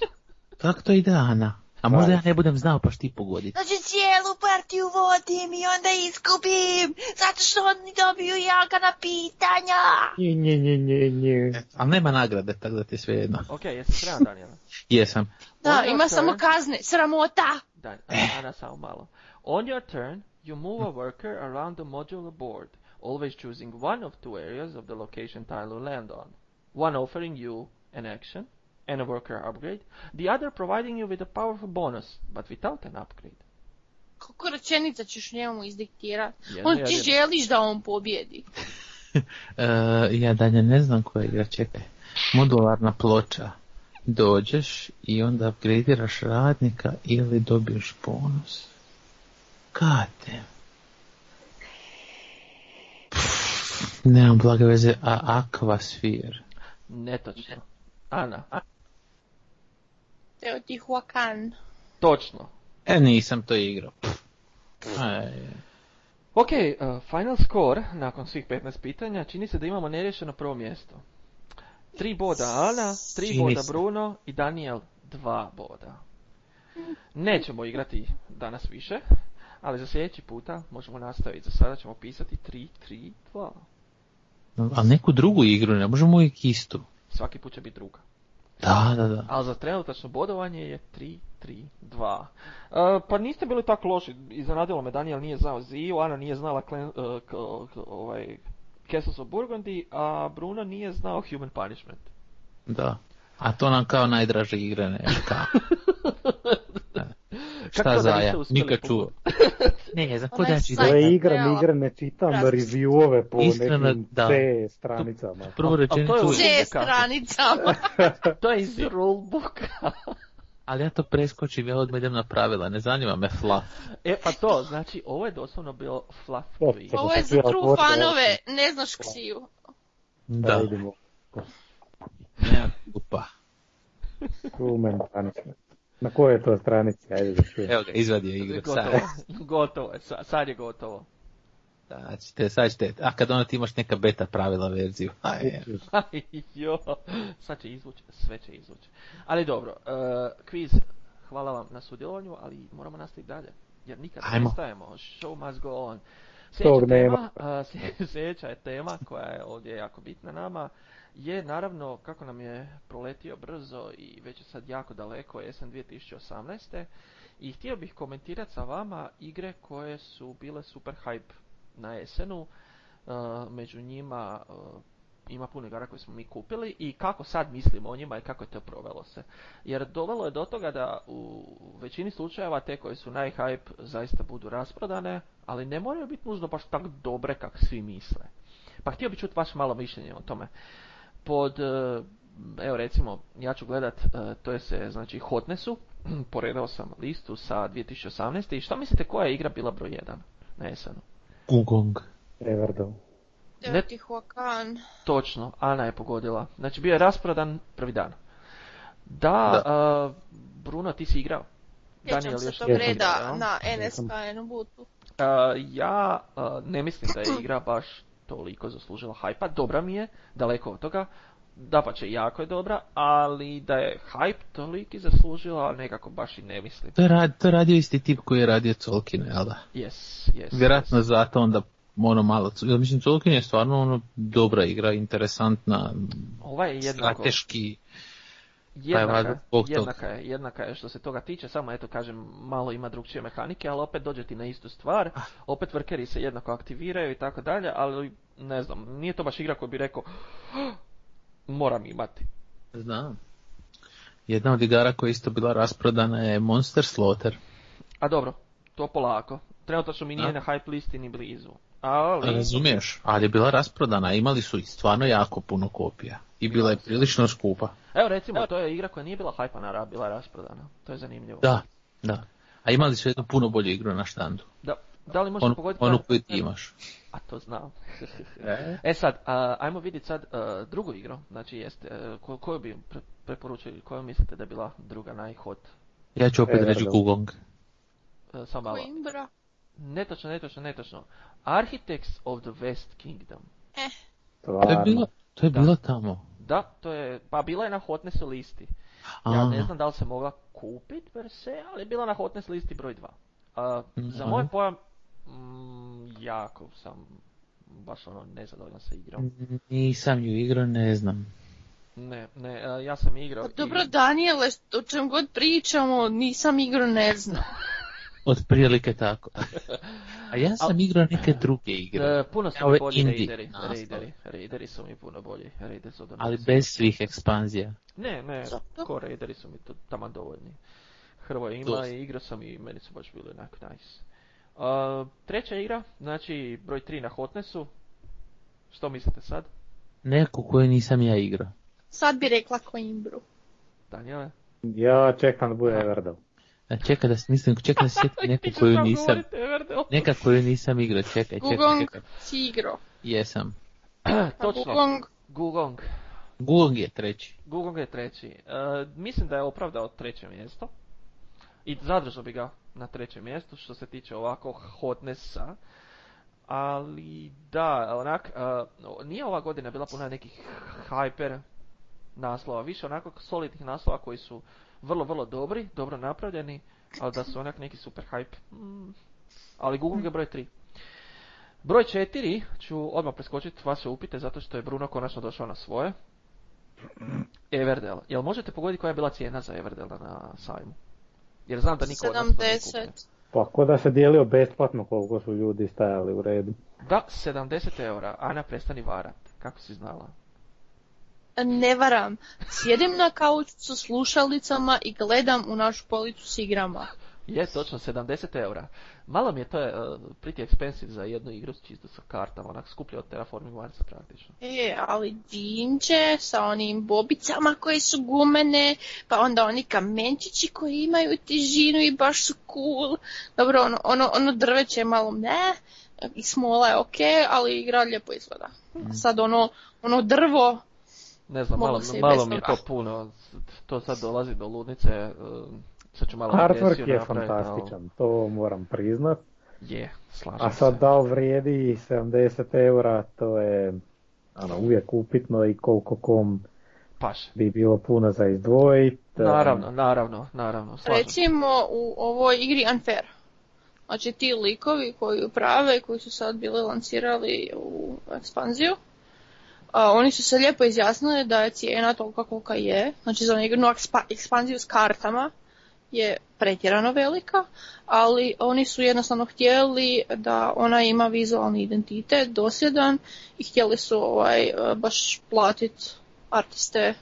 kako to ide Ana? A možda ja ne budem znao pa ti pogoditi.
Znači cijelu partiju vodim i onda izgubim, zato što oni dobiju jagana pitanja.
Nje, nje, nje, nje, nje.
Ali nema nagrade, tako da ti je sve jedno.
Ok, jesi spreman, Daniele?
Jesam.
Da,
Onda
ima
se-
samo kazne, sramota.
Dan- Ana, samo malo. uh, On your turn, you move a worker around the modular board, always choosing one of two areas of the location tile will land on. One offering you an action and a worker upgrade, the other providing you with a powerful bonus, but without an upgrade.
Koliko rečenica ćeš njemu izdiktirat?
Jedno
On
jedino.
ti želiš da on pobjedi.
E, ja dalje ne znam koja igra, čekaj. Modularna ploča. Dođeš i onda upgradiraš radnika ili dobiješ bonus. Kate. Nemam blage veze, a Aquasphere.
Netočno. Ana,
Teotihuacan.
točno.
E, nisam to igrao. E, Pff. Aj,
Ok, uh, final score, nakon svih 15 pitanja, čini se da imamo neriješeno prvo mjesto. Tri boda Ana, tri
Čini
boda
se.
Bruno i Daniel dva boda. Nećemo igrati danas više, ali za sljedeći puta možemo nastaviti. Za sada ćemo pisati 3-3-2.
ali neku drugu igru, ne možemo uvijek istu.
Svaki put će biti druga.
Da, da, da.
Ali za trenutačno bodovanje je 3-3-2. E, pa niste bili tako loši, iznenadilo me, Daniel nije znao Ziju, Ana nije znala Clan, e, k- k- ovaj, Castles of Burgundy, a Bruno nije znao Human Punishment.
Da. A to nam kao najdraže igre, ne, kao.
Kako
Šta
da
zaja,
niste uspjeli
nikad čuo. ne znam, ko znači
Onaj
da ću
slajd.
To
dati?
je
Ajde,
igram,
evo.
igre ne čitam
Razmišljam.
reviewove po
Iskreno,
nekim
da.
C stranicama.
Prvu
Al- al to je
rečenicu,
u-
C stranicama.
To je iz rulebooka.
ali ja to preskočim, ja odmah idem na pravila, ne zanima me fluff.
e pa to, znači ovo je doslovno bio fluff
O,
tweet.
to.
Ovo je za true fanove, ne znaš ksiju.
Da.
Da,
vidimo.
nema kupa.
Human punishment. Na kojoj je to stranici? Ajde da čujem.
Evo ga, izvadio igru, sad.
Gotovo, gotovo je, sa- sad je gotovo.
Sad ćete, sad ćete, a kad ona ti imaš neka beta pravila verziju, aj,
Aj, jo, sad će izvući, sve će izvući. Ali dobro, uh, kviz, hvala vam na sudjelovanju, ali moramo nastaviti dalje. Jer nikad ne
Ajmo.
prestajemo, show must go on.
Tog
Sljedeća tema,
nema.
a, slje- sljedeća je tema koja je ovdje jako bitna nama, je naravno kako nam je proletio brzo i već je sad jako daleko, jesen 2018. I htio bih komentirati sa vama igre koje su bile super hype na jesenu. E, među njima e, ima puno igara koje smo mi kupili i kako sad mislimo o njima i kako je to provelo se. Jer dovelo je do toga da u većini slučajeva te koje su najhype zaista budu rasprodane, ali ne moraju biti nužno baš tako dobre kako svi misle. Pa htio bih čuti vaše malo mišljenje o tome. Pod, e, evo recimo, ja ću gledat, e, to je se, znači, Hotnessu, poredao sam listu sa 2018. I šta mislite koja je igra bila broj 1 na jesenu?
gugong. E.
Everdom.
Teotihuacan.
Točno, Ana je pogodila. Znači bio je rasprodan prvi dan. Da, e, Bruno, ti si igrao.
Sjećam se
još
tog
nije
jesam.
reda
igrao.
na
Jesam.
NSKN u butu.
E, ja e, ne mislim da je igra baš toliko zaslužila hajpa. Dobra mi je, daleko od toga. Dapače, jako je dobra, ali da je hype toliki zaslužila, nekako baš i ne mislim.
To je, rad, to je radio isti tip koji je radio Colkin, jel da?
Yes, yes.
Vjerojatno zato onda ono malo, ja mislim Colkin je stvarno ono dobra igra, interesantna,
Ova je jednako.
strateški, Pa je
Jednaka,
valjda
je,
zbog toga.
jednaka, je, jednaka je što se toga tiče, samo eto kažem malo ima drugčije mehanike, ali opet dođe ti na istu stvar,
Ah.
opet workeri se jednako aktiviraju i tako dalje, ali ne znam, nije to baš igra koju bi rekao "Ah, moram imati.
znam. Jedna od igara koja je isto bila rasprodana je Monster Slaughter.
A dobro, to polako. Trenutačno mi nije
Da.
na hype listi ni blizu. Ali,
Razumiješ, ali je bila rasprodana, imali su i stvarno jako puno kopija. I bila je prilično skupa.
evo recimo, to je igra koja nije bila hajpana, bila je rasprodana. To je zanimljivo.
Da, da. A imali su jednu puno bolju igru na štandu.
Da, da li možete
Onu,
pogoditi? pa-
onu
kad-
koju ti imaš.
A to znam. E sad, a, ajmo vidjeti sad e, drugu igru, znači jeste, e, ko- koju bi pre- preporučili, koju mislite da je bila druga najhot?
Ja ću opet
E,
reći
da.
Gugong.
E, Samo malo.
Coimbra.
Netočno, netočno, netočno. Architects of the West Kingdom.
To je
Stvarno.
bilo, to je
Da.
bilo tamo.
Da, to je, pa bila je na hotness listi. Ja
A.
ne znam da li se mogla kupit per se, ali je bila na hotness listi broj 2. A, za
Mhm.
moj pojam, mm, jako sam baš ono nezadovoljan sa
Mhm.
igrom.
Nisam ju igrao, ne znam.
Ne, ne, e, ja sam igrao.
Pa
i-
dobro Daniele, što- o čem god pričamo, nisam igru ne znam.
Otprilike tako. A ja sam igrao neke druge igre.
E, puno su
Ove
mi bolji
indie
raideri,
naslove.
raideri, raideri su mi puno bolji, raideri su
Ali
dominantni.
bez svih ekspanzija.
Ne, ne,
Zato?
ko raideri su mi to tamo dovoljni. Hrvoje ima
Dosta.
i igrao sam i meni su baš bili onak nice. E, treća igra, znači broj 3 na Hotnessu. Što mislite sad,
Neku koju nisam ja igrao.
Sad bi rekla
E,
Coimbru.
Daniele?
Ja čekam da bude Everdom.
A Čekaj da mislim, čekaj da se sjetim neku
Ti ćeš
koju
sam
nisam.
govorit, Everdell.
Neka koju nisam igrao, čekaj, čekaj,
Gugong
čekaj.
si igro.
Jesam.
Točno,
Gugong,
Gugong.
Gugong je treći.
Gugong je treći. E, mislim da je opravdao treće mjesto. I zadržao bi ga na trećem mjestu što se tiče ovako hotnessa. Ali da, onak, e, nije ova godina bila puna nekih hyper naslova. Više onako solidnih naslova koji su vrlo, vrlo dobri, dobro napravljeni, ali da su onak neki super hype. Mm. Ali Google je broj 3. Broj 4 ću odmah preskočiti vaše upite zato što je Bruno konačno došao na svoje. Everdell. Jel možete pogoditi koja je bila cijena za Everdella na sajmu? Jer znam da niko od nas to nije kupio.
70.
Pa ko da se dijelio besplatno koliko su ljudi stajali u redu.
Da, 70 eura. Ana, prestani varat. Kako si znala?
Ne varam. Sjedim na kauču sa slušalicama i gledam u našu policu s igrama.
Je, točno, 70 eura. Malo mi je to eh, pretty expensive za jednu igru čisto sa kartama, onak skuplje od Terraforming Marsa praktično.
E, ali dinđe sa onim bobicama koje su gumene, pa onda oni kamenčići koji imaju težinu i baš su cool. Dobro, ono, ono, ono drveće je malo ne, i smola je okej, ali igra lijepo izgleda. A Sad ono, ono drvo,
Ne znam,
Moglo
malo,
se i
malo
bez
mi je to
toga.
puno. To sad dolazi do ludnice. eh, Sad ću malo digresiju
Artwork je
napraviti, ali-
fantastičan, to moram priznat.
Je, slažem
A sad
se.
da li vrijedi 70 eura, to je ono, uvijek upitno i koliko kom
Paše.
bi bilo puno za izdvojit. e,
Naravno, naravno, naravno. Slažem se.
recimo u ovoj igri Unfair. Znači ti likovi koji uprave i koji su sad bili lancirali u ekspanziju, a, oni su se lijepo izjasnili da je cijena tolika kolika je, znači za onu igru ekspa- ekspanziju s kartama je pretjerano velika, ali oni su jednostavno htjeli da ona ima vizualni identitet, dosjedan i htjeli su ovaj, e, baš platiti artiste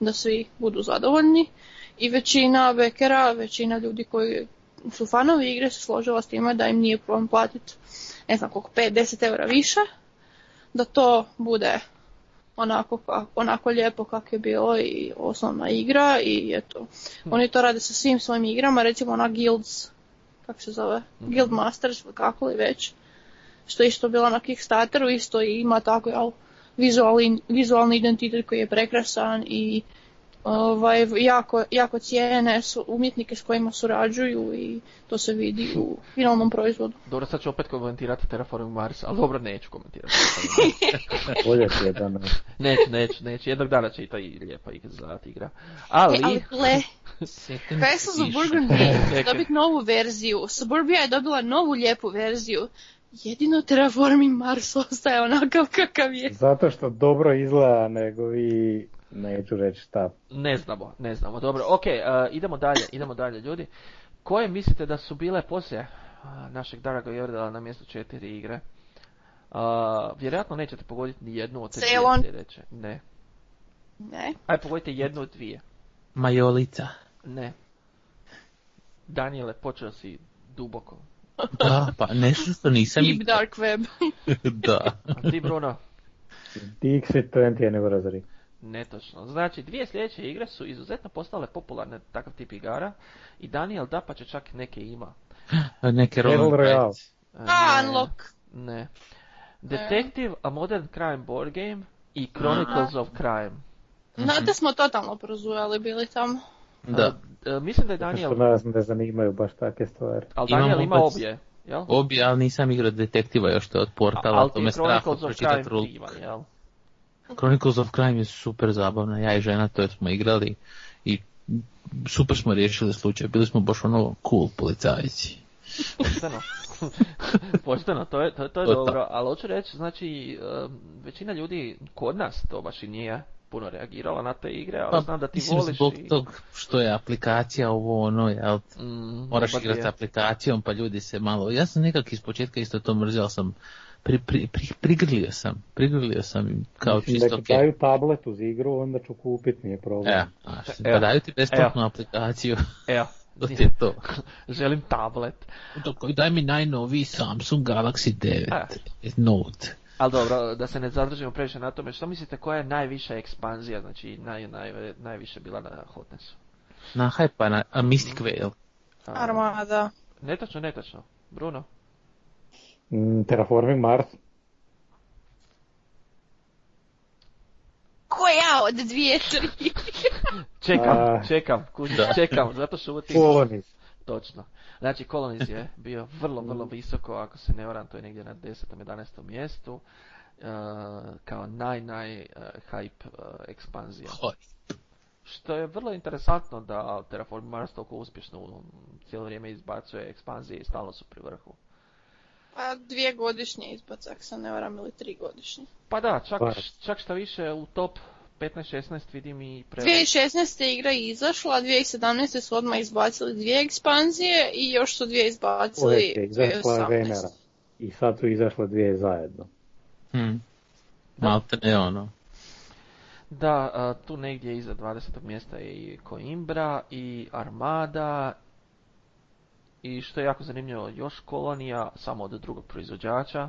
da svi budu zadovoljni i većina bekera, većina ljudi koji su fanovi igre se složila s time da im nije problem platiti ne znam koliko, 5-10 eura više, da to bude onako, ka- onako lijepo kak je bilo i osnovna igra i eto. Oni to rade sa svim svojim igrama, recimo ona Guilds, kako se zove, Guild Masters ili kako li već, što je isto bila na Kickstarteru, isto ima tako jel, vizualni, vizualni identitet koji je prekrasan i ovaj, jako, jako cijene su umjetnike s kojima surađuju i to se vidi u finalnom proizvodu.
Dobro, sad ću opet komentirati Terraforming Mars, ali dobro, neću komentirati.
Bolje ti je da ne.
neću, neću, neću. Jednog dana će i ta i- lijepa igra zlata igra. Ali,
E, ali gle, kaj su za Burgundy
Čekaj.
dobit novu verziju. Suburbia je dobila novu lijepu verziju. Jedino Terraforming Mars ostaje onakav kakav je.
Zato što dobro izgleda, nego i neću reći šta.
ne znamo, ne znamo. Dobro, ok, e, idemo dalje, idemo dalje, ljudi. Koje mislite da su bile poslije a, našeg Daraga Jordala na mjestu četiri igre? A, vjerojatno nećete pogoditi ni jednu od te dvije
Ceylon.
sljedeće. Ne.
Ne?
Aj, pogodite jednu od dvije.
Majolica.
Ne. Daniele, počeo si duboko.
Da, pa nešto što nisam...
Deep Dark Web.
da.
A ti, Bruno?
Dixit 20 anniversary.
Netočno. Znači, dvije sljedeće igre su izuzetno postale popularne takav tip igara i Daniel Dapače čak neke ima.
Neke
Battle
Roland
Royale.
Rights.
E,
A,
ne,
Unlock.
Ne. Detective, a Modern Crime Board Game i Chronicles of Crime. Mhm.
No, da smo totalno prozujali bili tamo.
Da.
E, e, mislim da je
Zato što
Daniel,
nas ne zanimaju baš takve stvari.
ali
Imamo
Daniel ima
opet-
obje, jel?
Obje, ali nisam igrao detektiva još to od portala,
ali
to
ti
me
je
strašno
Chronicles of
pročitati
Crime
rule.
divan, jel?
Chronicles of Crime je super zabavna, ja i žena to smo igrali i super smo riješili slučaj, bili smo baš ono cool policajci.
Pošteno. Pošteno, to je, to, to je
To je
dobro, ali hoću reći, znači, em, većina ljudi kod nas to baš i nije puno reagirala na te igre, ali Pa znam da ti
Pa, mislim,
voliš
zbog
i...
tog što je aplikacija ovo ono, jel,
Mm,
moraš
dobar
igrati s
dio.
aplikacijom pa ljudi se malo, ja sam nekak iz početka isto to mrzio, ali sam pri, pri, pri, prigrlio sam, prigrlio sam im kao
Mislim,
čisto
da
ok.
ti daju tablet uz igru, onda ću kupit, nije problem.
Evo, znaš,
E, Evo.
pa daju ti besplatnu aplikaciju,
Evo,
to ti je to.
želim tablet.
Dok- Daj mi najnoviji Samsung Galaxy 9
E.
Note.
Ali dobro, da se ne zadržimo previše na tome, što mislite koja je najviša ekspanzija, znači naj, naj, najviše bila na Hotnessu?
Na hype, na a Mystic Veil.
A,
Armada.
Netočno, netočno. Bruno?
Mm, Terraforming Mars.
od dvije, tri.
Čekam,
A.
čekam, kužiš,
Da.
čekam, zato što ovo ti-
Koloni.
Točno. Znači, Colonies je bio vrlo, vrlo visoko, ako se ne varam, to je negdje na 10. 11. mjestu. e, kao naj, naj e, hype e, ekspanzija. Što je vrlo interesantno da Terraform Mars toliko uspješno um, cijelo vrijeme izbacuje ekspanzije i stalno su pri vrhu.
A Pa, dvije godišnje izbacak, ako se ne varam, ili tri godišnje.
Pa da, čak,
Baš.
čak šta više u top 15-16 vidim i pre...
2016. igra je izašla, a 2017. su odmah izbacili dvije ekspanzije i još su dvije izbacili eh,
Uvijek je izašla
2018.
Venera. I sad su izašle dvije zajedno.
Hmm.
Hm. Malte ne ono.
Da, a, tu negdje iza 20. mjesta je i Coimbra i Armada i što je jako zanimljivo, još kolonija, samo od drugog proizvođača.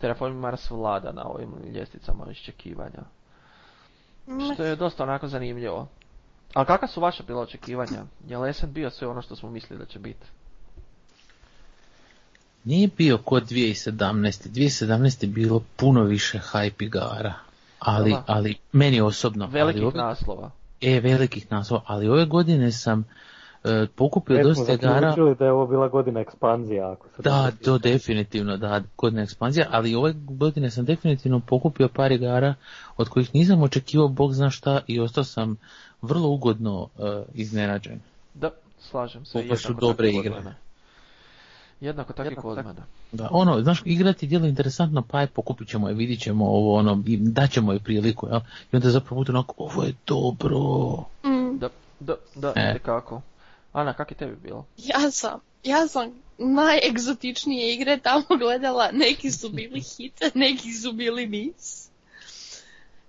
Terraforming Mars vlada na ovim ljestvicama iščekivanja.
Mm,
Što je dosta onako zanimljivo. A kakva su vaša bila očekivanja? Je li SN bio sve ono što smo mislili da će biti?
Nije bio kod 2017. 2017. je bilo puno više hype igara. Ali,
Da.
ali meni osobno. ali
Velikih
ove,
naslova.
E, velikih naslova. Ali ove godine sam e, pokupio
Već smo
dosta igara.
zaključili da je ovo bila godina ekspanzija. Ako se
Da,
dobro
to definitivno, da, godina ekspanzija, ali ove godine sam definitivno pokupio par igara od kojih nisam očekivao bog zna šta i ostao sam vrlo ugodno e, iznenađen.
Da, slažem se.
Ovo
jednako
su
tako
dobre
kod
igre.
mene. Jednako tako i kod mene.
Da, ono, znaš, igrati djelo interesantno, pa je pokupit ćemo je, vidit ćemo ovo, ono, i daćemo je priliku, jel? I onda zapravo bude onako, ovo je dobro.
mm.
Da, da, da,
E.
itekako. Ana, kak je tebi bilo?
Ja sam, ja sam najegzotičnije igre tamo gledala, neki su bili hit, neki su bili mis.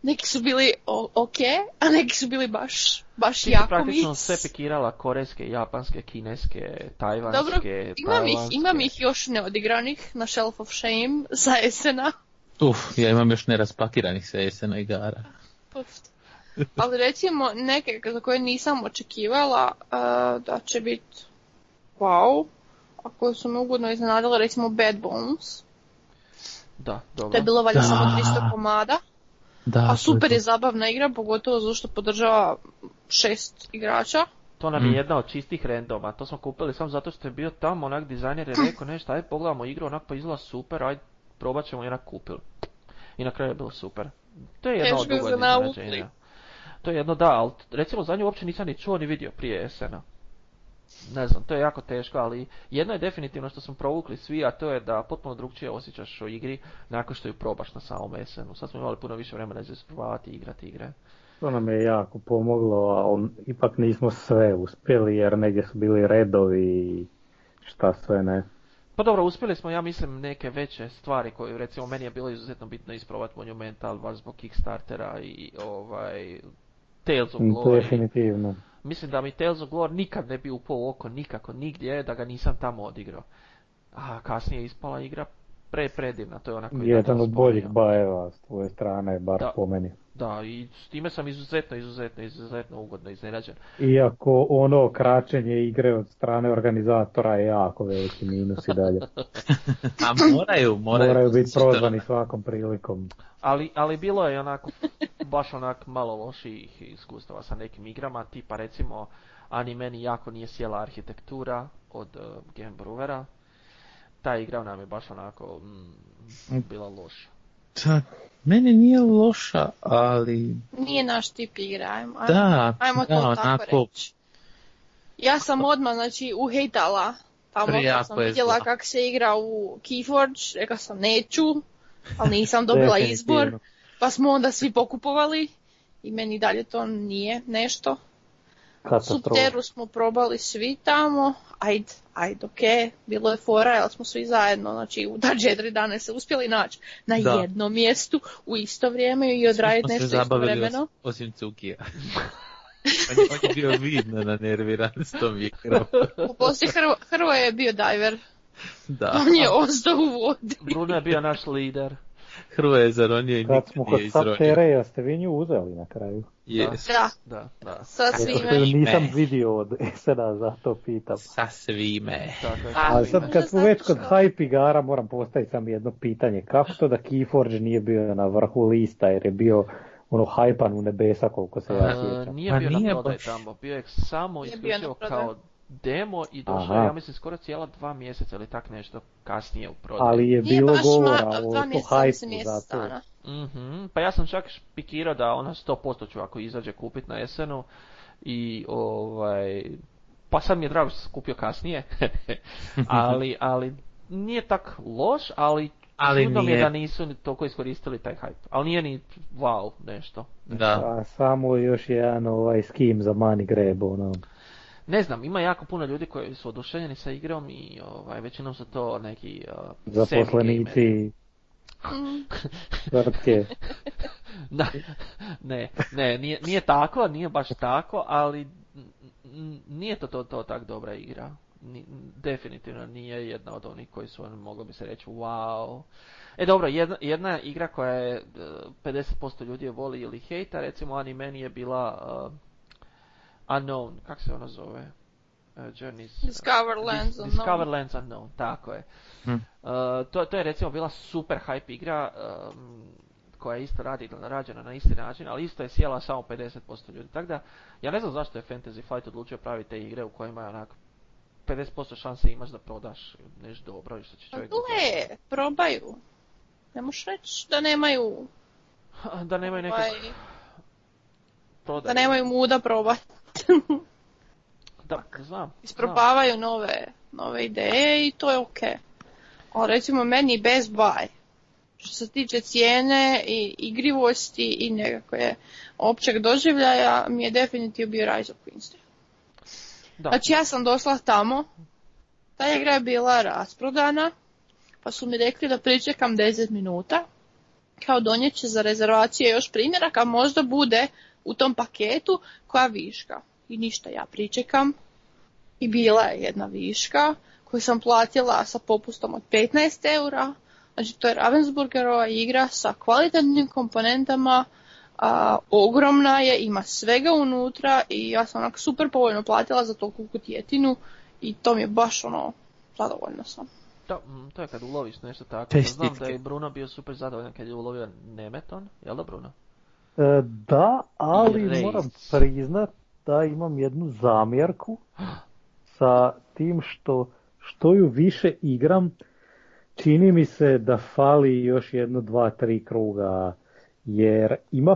Neki su bili o- ok, a neki su bili baš, baš
Ti si
jako
praktično
mis.
sve pikirala korejske, japanske, kineske, tajvanske,
Dobro, Imam ih,
tajlanske.
imam ih još neodigranih na Shelf of Shame za Esena.
Uf, ja imam još neraspakiranih sa jesena igara.
Uf. Ali recimo neke za koje nisam očekivala e, da će biti wow, a koje su me ugodno iznenadile, recimo Bad Bones,
Da,
to
dobro.
je bilo valjda
Da.
samo 300 komada,
Da,
a super je zabavna igra, pogotovo zato što podržava šest igrača.
To nam je
Mm.
jedna od čistih randoma, to smo kupili samo zato što je bio tamo, onak dizajner je rekao nešto, ajde pogledamo igru, onak pa izgleda super, ajde probat ćemo i onak kupili. I na kraju je bilo super. To je jedno od
Teško je
ugodnih
za naučiti.
iznenađenja. To je jedno da, ali recimo za nju uopće nisam ni čuo ni vidio prije SN-a. Ne znam, to je jako teško, ali jedno je definitivno što smo provukli svi, a to je da potpuno drugčije osjećaš o igri nakon što ju probaš na samom SN-u. Sad smo imali puno više vremena za isprobavati i igrati igre.
To nam je jako pomoglo, a on, ipak nismo sve uspjeli jer negdje su bili redovi i šta sve ne.
Pa dobro, uspjeli smo, ja mislim, neke veće stvari koje, recimo, meni je bilo izuzetno bitno isprobati Monumental, baš zbog Kickstartera i ovaj... Tales of Glory.
Mm, Definitivno.
Mislim da mi Tales of Glory nikad ne bi upao u oko nikako, nigdje, da ga nisam tamo odigrao. A kasnije je ispala igra pre predivna, to je ona koju je
Jedan
Danilo
od boljih
spominjao.
bajeva s tvoje strane, bar
Da.
po meni.
Da, i s time sam izuzetno, izuzetno, izuzetno ugodno iznenađen.
Iako ono kraćenje igre od strane organizatora je jako veliki minus i dalje.
A moraju, moraju.
Moraju biti prozvani svakom prilikom.
Ali, ali bilo je onako, baš onak malo loših iskustava sa nekim igrama, tipa recimo, ani meni jako nije sjela arhitektura od uh, Game Brewera. Ta igra nam je baš onako mm, bila loša.
Da, meni nije loša, ali
Nije naš tip igra, ajmo, ajmo-
da,
ajmo
da,
to tako
onako,
reći. Ja sam odmah, znači, uhejtala tamo kad
Prejako
sam
je
vidjela
zla.
kak se igra u Keyforge, rekla sam neću, ali nisam dobila izbor,
Definitivno.
pa smo onda svi pokupovali i meni dalje to nije nešto.
Katastrofa.
Subteru smo probali svi tamo, ajd, ajd, ok, bilo je fora, ali smo svi zajedno, znači u ta četiri dana se uspjeli naći na
Da.
jednom mjestu u isto vrijeme i odraditi
Svi smo se
nešto
zabavili
istovremeno.
os- Osim Cukija. on, je, on je bio vidno na nerviran s tom igrom.
Poslije Hrvo, Hrvoje je bio diver,
Da.
on je ostao u vodi.
Bruno je bio naš lider.
Hrvo je zaronio i
Kad
nikad
smo kod
nije izronio.
Subtereja, ste vi nju uzeli na kraju?
Yes.
Da,
Da, da.
sa
Zato što
svime.
ju nisam
Ne.
vidio od SNA, zato pitam.
Sa svime.
Tako je.
A,
to
A
ime.
sad
Možda
kad smo već
zato
kod
što-
hype igara, moram postaviti samo jedno pitanje. Kako to da Keyforge nije bio na vrhu lista jer je bio ono hajpan u nebesa koliko se ja
E,
sjećam.
nije
Pa
bio na
nije
prodaj
baš.
tamo, bio je samo
Nije bio
isključivo
na prodaju.
kao demo i došao
Aha.
je, ja mislim skoro cijela dva mjeseca ili tak nešto kasnije u prodaju.
Ali je
Nije
bilo
baš
govora
malo,
o
dva mjeseca,
to
mislim
hajpu
mjesec
za to.
dana.
Mhm, Pa ja sam čak špikirao da ona 100% ću ako izađe kupit na jesenu i ovaj pa sad mi je drago što sam kupio kasnije, ali, ali nije tak loš, ali,
Ali
čudno mi je
nije.
da nisu ni toliko iskoristili taj hype. Ali nije ni wow nešto.
Da.
A samo još jedan ovaj skim za money grab, ono.
Ne znam, ima jako puno ljudi koji su oduševljeni sa igrom i ovaj, većinom su to neki uh, semi-gameri.
zaposlenici
Mm.
tvrtke.
Da, ne, ne, nije, nije tako, nije baš tako, ali n- n- nije to, to, to tak dobra igra. Ni- definitivno nije jedna od onih koji su, ono, moglo bi se reći, wow. E dobro, jedna, jedna igra koja je e, 50% ljudi je voli ili hejta, recimo Animeni je bila e, Unknown, kak se ona zove? E, Journeys.
Discover Lands ono.
Dis-
Unknown.
Discover Lands Unknown, tako je.
Hm.
Uh, to, to je recimo bila super hype igra um, koja je isto radi, rađena na isti način, ali isto je sjela samo 50% ljudi. Tako da, ja ne znam zašto je Fantasy Flight odlučio praviti te igre u kojima je onak 50% šanse imaš da prodaš nešto dobro i što će
Pa
čovjek...
Gle, probaju. Ne možeš reći da nemaju,
Da nemaju nekog
ovaj,
prodaje.
da nemaju muda probat.
Da, znam. znam.
Isprobavaju nove, nove ideje i to je ok. Ali recimo meni je Best Buy. Što se tiče cijene i igrivosti i nekako je općeg doživljaja mi je definitivno bio Rise of Queens.
Da.
Znači ja sam došla tamo, ta igra je bila rasprodana, pa su mi rekli da pričekam 10 minuta, kao donijet će za rezervacije još primjeraka, možda bude u tom paketu koja viška. I ništa, ja pričekam. I bila je jedna viška koju sam platila sa popustom od 15 eura. Znači to je Ravensburgerova igra sa kvalitetnim komponentama, a, ogromna je, ima svega unutra i ja sam onak super povoljno platila za toliku kutjetinu i to mi je baš ono, zadovoljna sam.
Da, mm, to je kad uloviš nešto tako.
Te
Znam da
stitke.
je Bruno bio super zadovoljan kad je ulovio Nemeton, jel da Bruno?
E, Da, ali
Race.
moram priznat da imam jednu zamjerku sa tim što što ju više igram, čini mi se da fali još jedno, dva, tri kruga, jer ima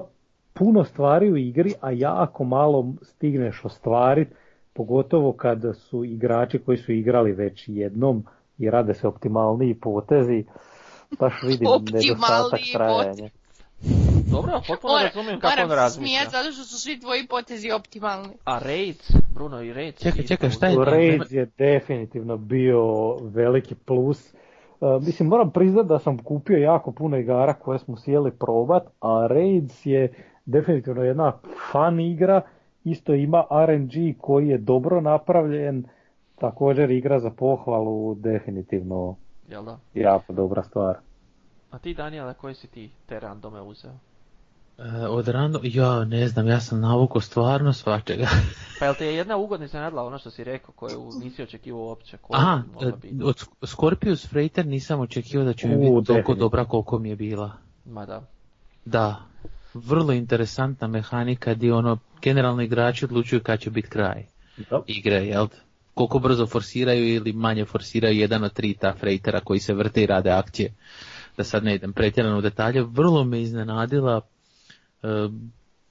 puno stvari u igri, a jako malo stigneš ostvariti, pogotovo kad su igrači koji su igrali već jednom i rade se optimalniji potezi, baš vidim
Optimalniji
nedostatak
potez.
trajanja.
Dobro, potpuno
Moram-
razumijem kako on
moram se
razmišlja.
smijat zato što su svi tvoji potezi optimalni.
A Raids, Bruno i Raids.
Čekaj,
isto
čekaj, šta je
uz-
to?
Raids je definitivno bio veliki plus. E, Mislim, moram priznat da sam kupio jako puno igara koje smo sjeli probat, a Raids je definitivno jedna fan igra, isto ima RNG koji je dobro napravljen, također igra za pohvalu, definitivno
Jel da?
jako dobra stvar.
A ti Daniela, koji si ti te randome uzeo?
E, Od rando, ja ne znam, ja sam navukao stvarno svačega.
Pa jel te je jedna ugodna iznenadila ono što si rekao, koju nisi očekivao uopće, koja
Aha,
bi mogla
e,
biti?
od Sk- Scorpius Freighter nisam očekivao da će mi
U,
biti toliko
definitivno.
dobra koliko mi je bila.
Ma da.
Da, vrlo interesantna mehanika gdje ono, generalno igrači odlučuju kad će biti kraj igre, jel? te? Koliko brzo forsiraju ili manje forsiraju jedan od tri ta freitera koji se vrte i rade akcije. Da sad ne idem pretjerano u detalje, vrlo me iznenadila, e,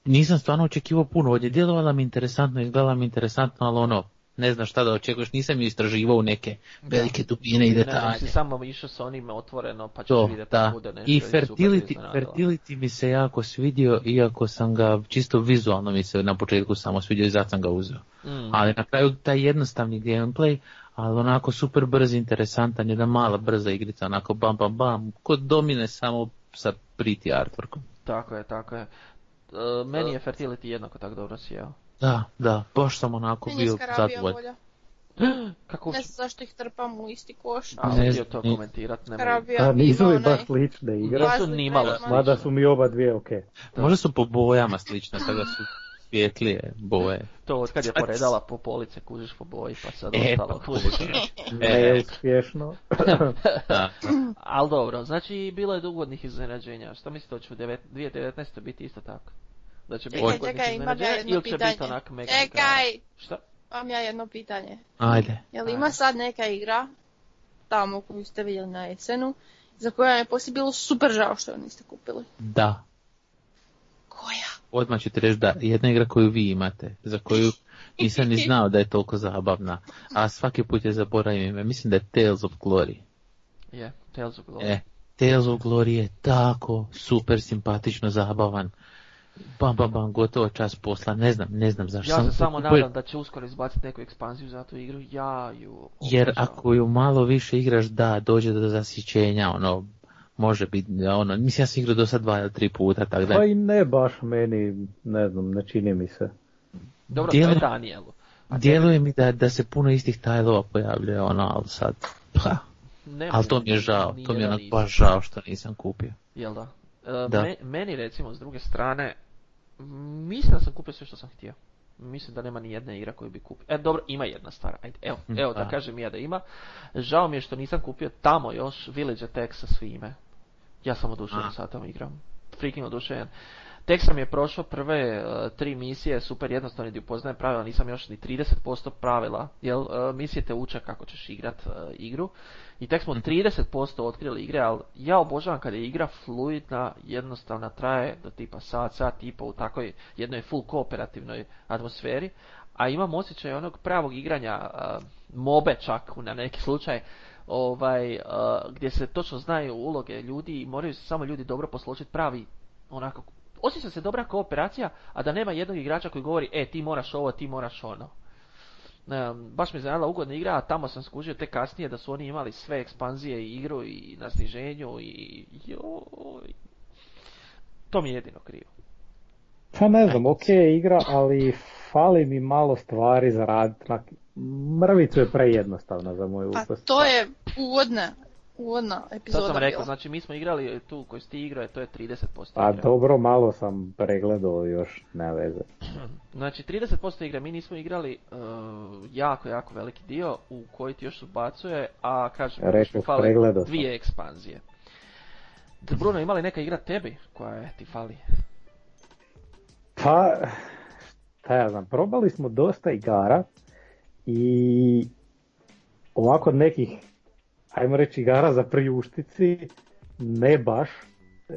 nisam stvarno očekivao puno, ovdje djelovala mi interesantno, izgledala mi interesantno, ali ono, ne znam šta da očekuješ, nisam ju istraživao u neke velike dubine i
Ne,
detalje.
si samo išao sa onim otvoreno, pa ćeš
To,
vidjeti da
da.
bude nešto
I
super
fertility,
iznenadila.
fertility mi se jako svidio, iako sam ga čisto vizualno mi se na početku samo svidio i zato sam ga uzeo.
Mm.
Ali na kraju taj jednostavni gameplay, ali onako super brz, interesantan, jedna mala brza igrica, onako bam bam bam, kod domine samo sa pretty artworkom.
Tako je, tako je. E, meni je Fertility jednako tako dobro sjeo.
Da, da, baš sam onako
Meni je
bio
Skarabija
zadovoljan.
bolja.
Kako
Ne
uopće?
znam zašto ih trpam u isti koš.
A,
Ne
htio to
znam, ni-
komentirat, ne mogu.
Skarabija
Da, nisu
ima
mi
onaj-
baš slične
Nisu
igre,
Razlika
nimalo
ima.
slične.
mada su mi oba dvije ok.
Možda su po bojama slične, tako da su svjetlije boje.
To od kad je poredala po police, kužiš po boji, pa sad
E,
ostalo,
pa
kužiš.
Neuspješno.
Da.
Ali dobro, znači bilo je ugodnih iznenađenja. Šta mislite, hoće u devet- 2019. biti isto tako? Da će biti
Čekaj,
ugodnih
čekaj, imam ja
iznenađenja
jedno
ili će
pitanje.
biti onak mega
Čekaj,
Šta?
imam ja jedno pitanje.
Ajde.
Je li ima sad neka igra, tamo koju ste vidjeli na Ecenu, za koju vam je poslije bilo super žao što ju niste kupili?
Da.
Koja?
Odmah ću ti reći da jedna igra koju vi imate, za koju nisam ni znao da je toliko zabavna, a svaki put je zaboravim ime. Mislim da je Tales of Glory.
Je, Tales of Glory.
E, Tales of Glory je tako super simpatično zabavan. Bam, bam, bam, gotovo čas posla. Ne znam, ne znam zašto.
ja se
sam
samo
kupio.
nadam da će uskoro izbaciti neku ekspanziju za tu igru, ja ju...
Jer
obožavam.
ako ju malo više igraš, da, dođe do zasićenja, ono, može biti, ono, mislim ja sam igrao do sad dva ili tri puta, tako da...
Pa i ne baš meni, ne znam, ne čini mi se.
Dobro, to je
djeluje-
Danielu.
Djeluje mi da, da se puno istih tajlova pojavljuje, ono, ali sad, pa,
Ne
ali to
mogu,
mi je žao, to mi je
nijedan
onak
nisam.
baš žao što nisam kupio.
Jel da? E,
Da.
me- meni recimo s druge strane, m, mislim da sam kupio sve što sam htio. Mislim da nema ni jedne igra koju bi kupio. E dobro, ima jedna stvar. Ajde, evo,
Mm,
evo da
da.
kažem ja da ima. Žao mi je što nisam kupio tamo još Village Attack sa svime. Ja sam oduševljen
A.
sa tom igram. Freaking oduševljen. Tek sam je prošao prve e, tri misije, super jednostavno gdje upoznajem pravila, nisam još ni 30% pravila, jel e, misije te uče kako ćeš igrat e, igru. I tek smo 30% otkrili igre, ali ja obožavam kada je igra fluidna, jednostavna, traje do tipa sat, sat i po u takvoj jednoj full kooperativnoj atmosferi. A imam osjećaj onog pravog igranja e, mobe čak u- na neki slučaj, ovaj, e, gdje se točno znaju uloge ljudi i moraju se samo ljudi dobro posložiti pravi onako osjeća se dobra kooperacija, a da nema jednog igrača koji govori, e, ti moraš ovo, ti moraš ono. Ne, baš mi je zanimala ugodna igra, a tamo sam skužio tek kasnije da su oni imali sve ekspanzije i igru i na sniženju i... Joj. To mi je jedino krivo.
Pa ne znam, ok je igra, ali fali mi malo stvari za rad. Onak, Mrvicu je prejednostavna za moj
Pa
ukus.
to je uvodna, uvodna
Sad
epizoda
sam rekao,
bila.
znači mi smo igrali tu koju si ti igrao, to je 30%
Pa
igre.
dobro, malo sam pregledao još, ne veze.
Znači 30% igre mi nismo igrali e, jako, jako veliki dio u koji ti još ubacuje, a kažem, još mi
Rekao,
fale
pregledao sam.
dvije ekspanzije. D- Bruno, ima li neka igra tebi koja je ti fali?
Pa, šta ja znam, probali smo dosta igara i ovako od nekih, ajmo reći, igara za priuštici, ne baš.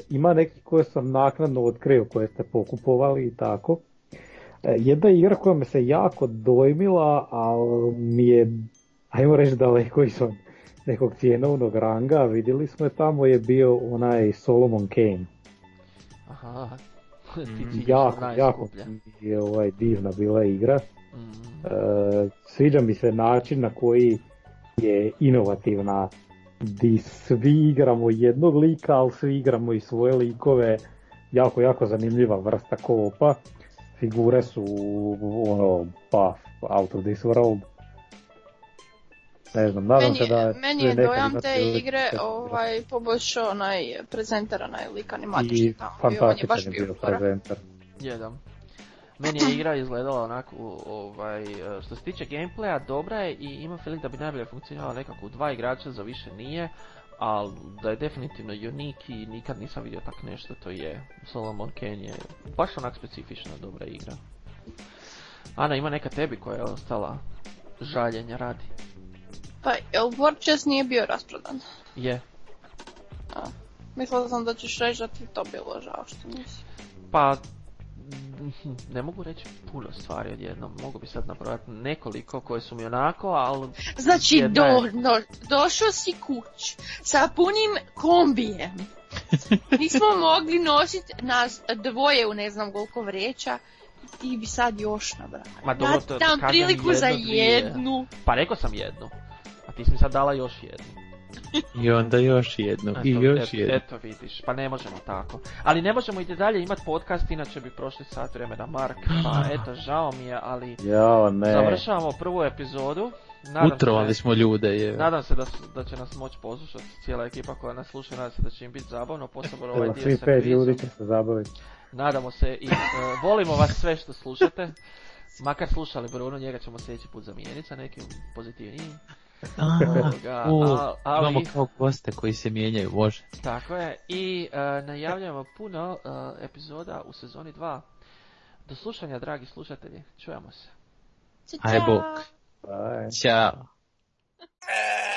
Ima neki koje sam naknadno otkrio, koje ste pokupovali i tako. E, Jedna igra koja me se jako dojmila, ali mi je, ajmo reći, daleko izvan nekog cijenovnog ranga, vidjeli smo je tamo, je bio onaj Solomon Kane.
Aha, ti
Mm,
ciljaš
Jako,
na
jako
najskuplje.
je ovaj, divna bila igra.
Mm.
E, sviđa mi se način na koji je inovativna di svi igramo jednog lika, ali svi igramo i svoje likove. Jako, jako zanimljiva vrsta koopa. Figure su ono, pa, out of this world. Ne znam, nadam
Meni,
se da...
meni
će
je
nekad
dojam
imati
te
priliku
igre
igrati.
ovaj, poboljšao onaj prezenter, onaj lik
I
animatični tamo. bio, on je
fantastičan
baš
je
bio
bio
fora.
prezentar.
Jedan. Meni je igra izgledala onako, ovaj, e, što se tiče gameplaya, dobra je i imam feeling da bi najbolje funkcionirala nekako u dva igrača, za više nije, ali da je definitivno unik i nikad nisam vidio tak nešto, to je Solomon Kane je baš onak specifična dobra igra. Ana, ima neka tebi koja je ostala žaljenja radi.
Pa, jel War Chess nije bio rasprodan?
Je,
Mislila sam da ćeš reći da ti to bilo žao što nisi.
Pa, mm, ne mogu reći puno stvari odjednom, mogu bi sad nabrojati nekoliko koje su mi onako, ali
Znači,
Jedna
do,
je.
do, došao si kuć sa punim kombijem. Nismo mogli nositi nas dvoje u ne znam koliko vreća. I ti bi sad još nabrao.
Ma dobro, to-
tam
kažem
Znači, priliku za
jedno, dvije.
jednu.
pa rekao sam jednu. A ti si mi sad dala još jednu.
I onda još jedno, i
Eto,
još
eto,
jedno.
eto vidiš, pa ne možemo tako. Ali ne možemo i dalje imati podcast, inače bi prošli sat vremena Mark. Pa eto, žao mi je, ali
Jao, ne.
završavamo prvu epizodu. Nadam
Utrovali
se,
smo ljude, je.
Nadam se da, su- da će nas moći poslušati cijela ekipa koja nas sluša, nadam se da će im biti zabavno, posebno ovaj
Evo,
dio
svi
sa
pet
kvizom.
ljudi će se zabaviti.
Nadamo se i e, volimo vas sve što slušate. Makar slušali Bruno, njega ćemo sljedeći put zamijeniti sa nekim pozitivnijim.
A,
Ovoga,
u,
al- ali-
Imamo kao goste koji se mijenjaju, može.
Tako je, i e, najavljujemo puno e, epizoda u sezoni 2. Do slušanja, dragi slušatelji, čujemo se.
Aj, bok.
Bye.
Ćao.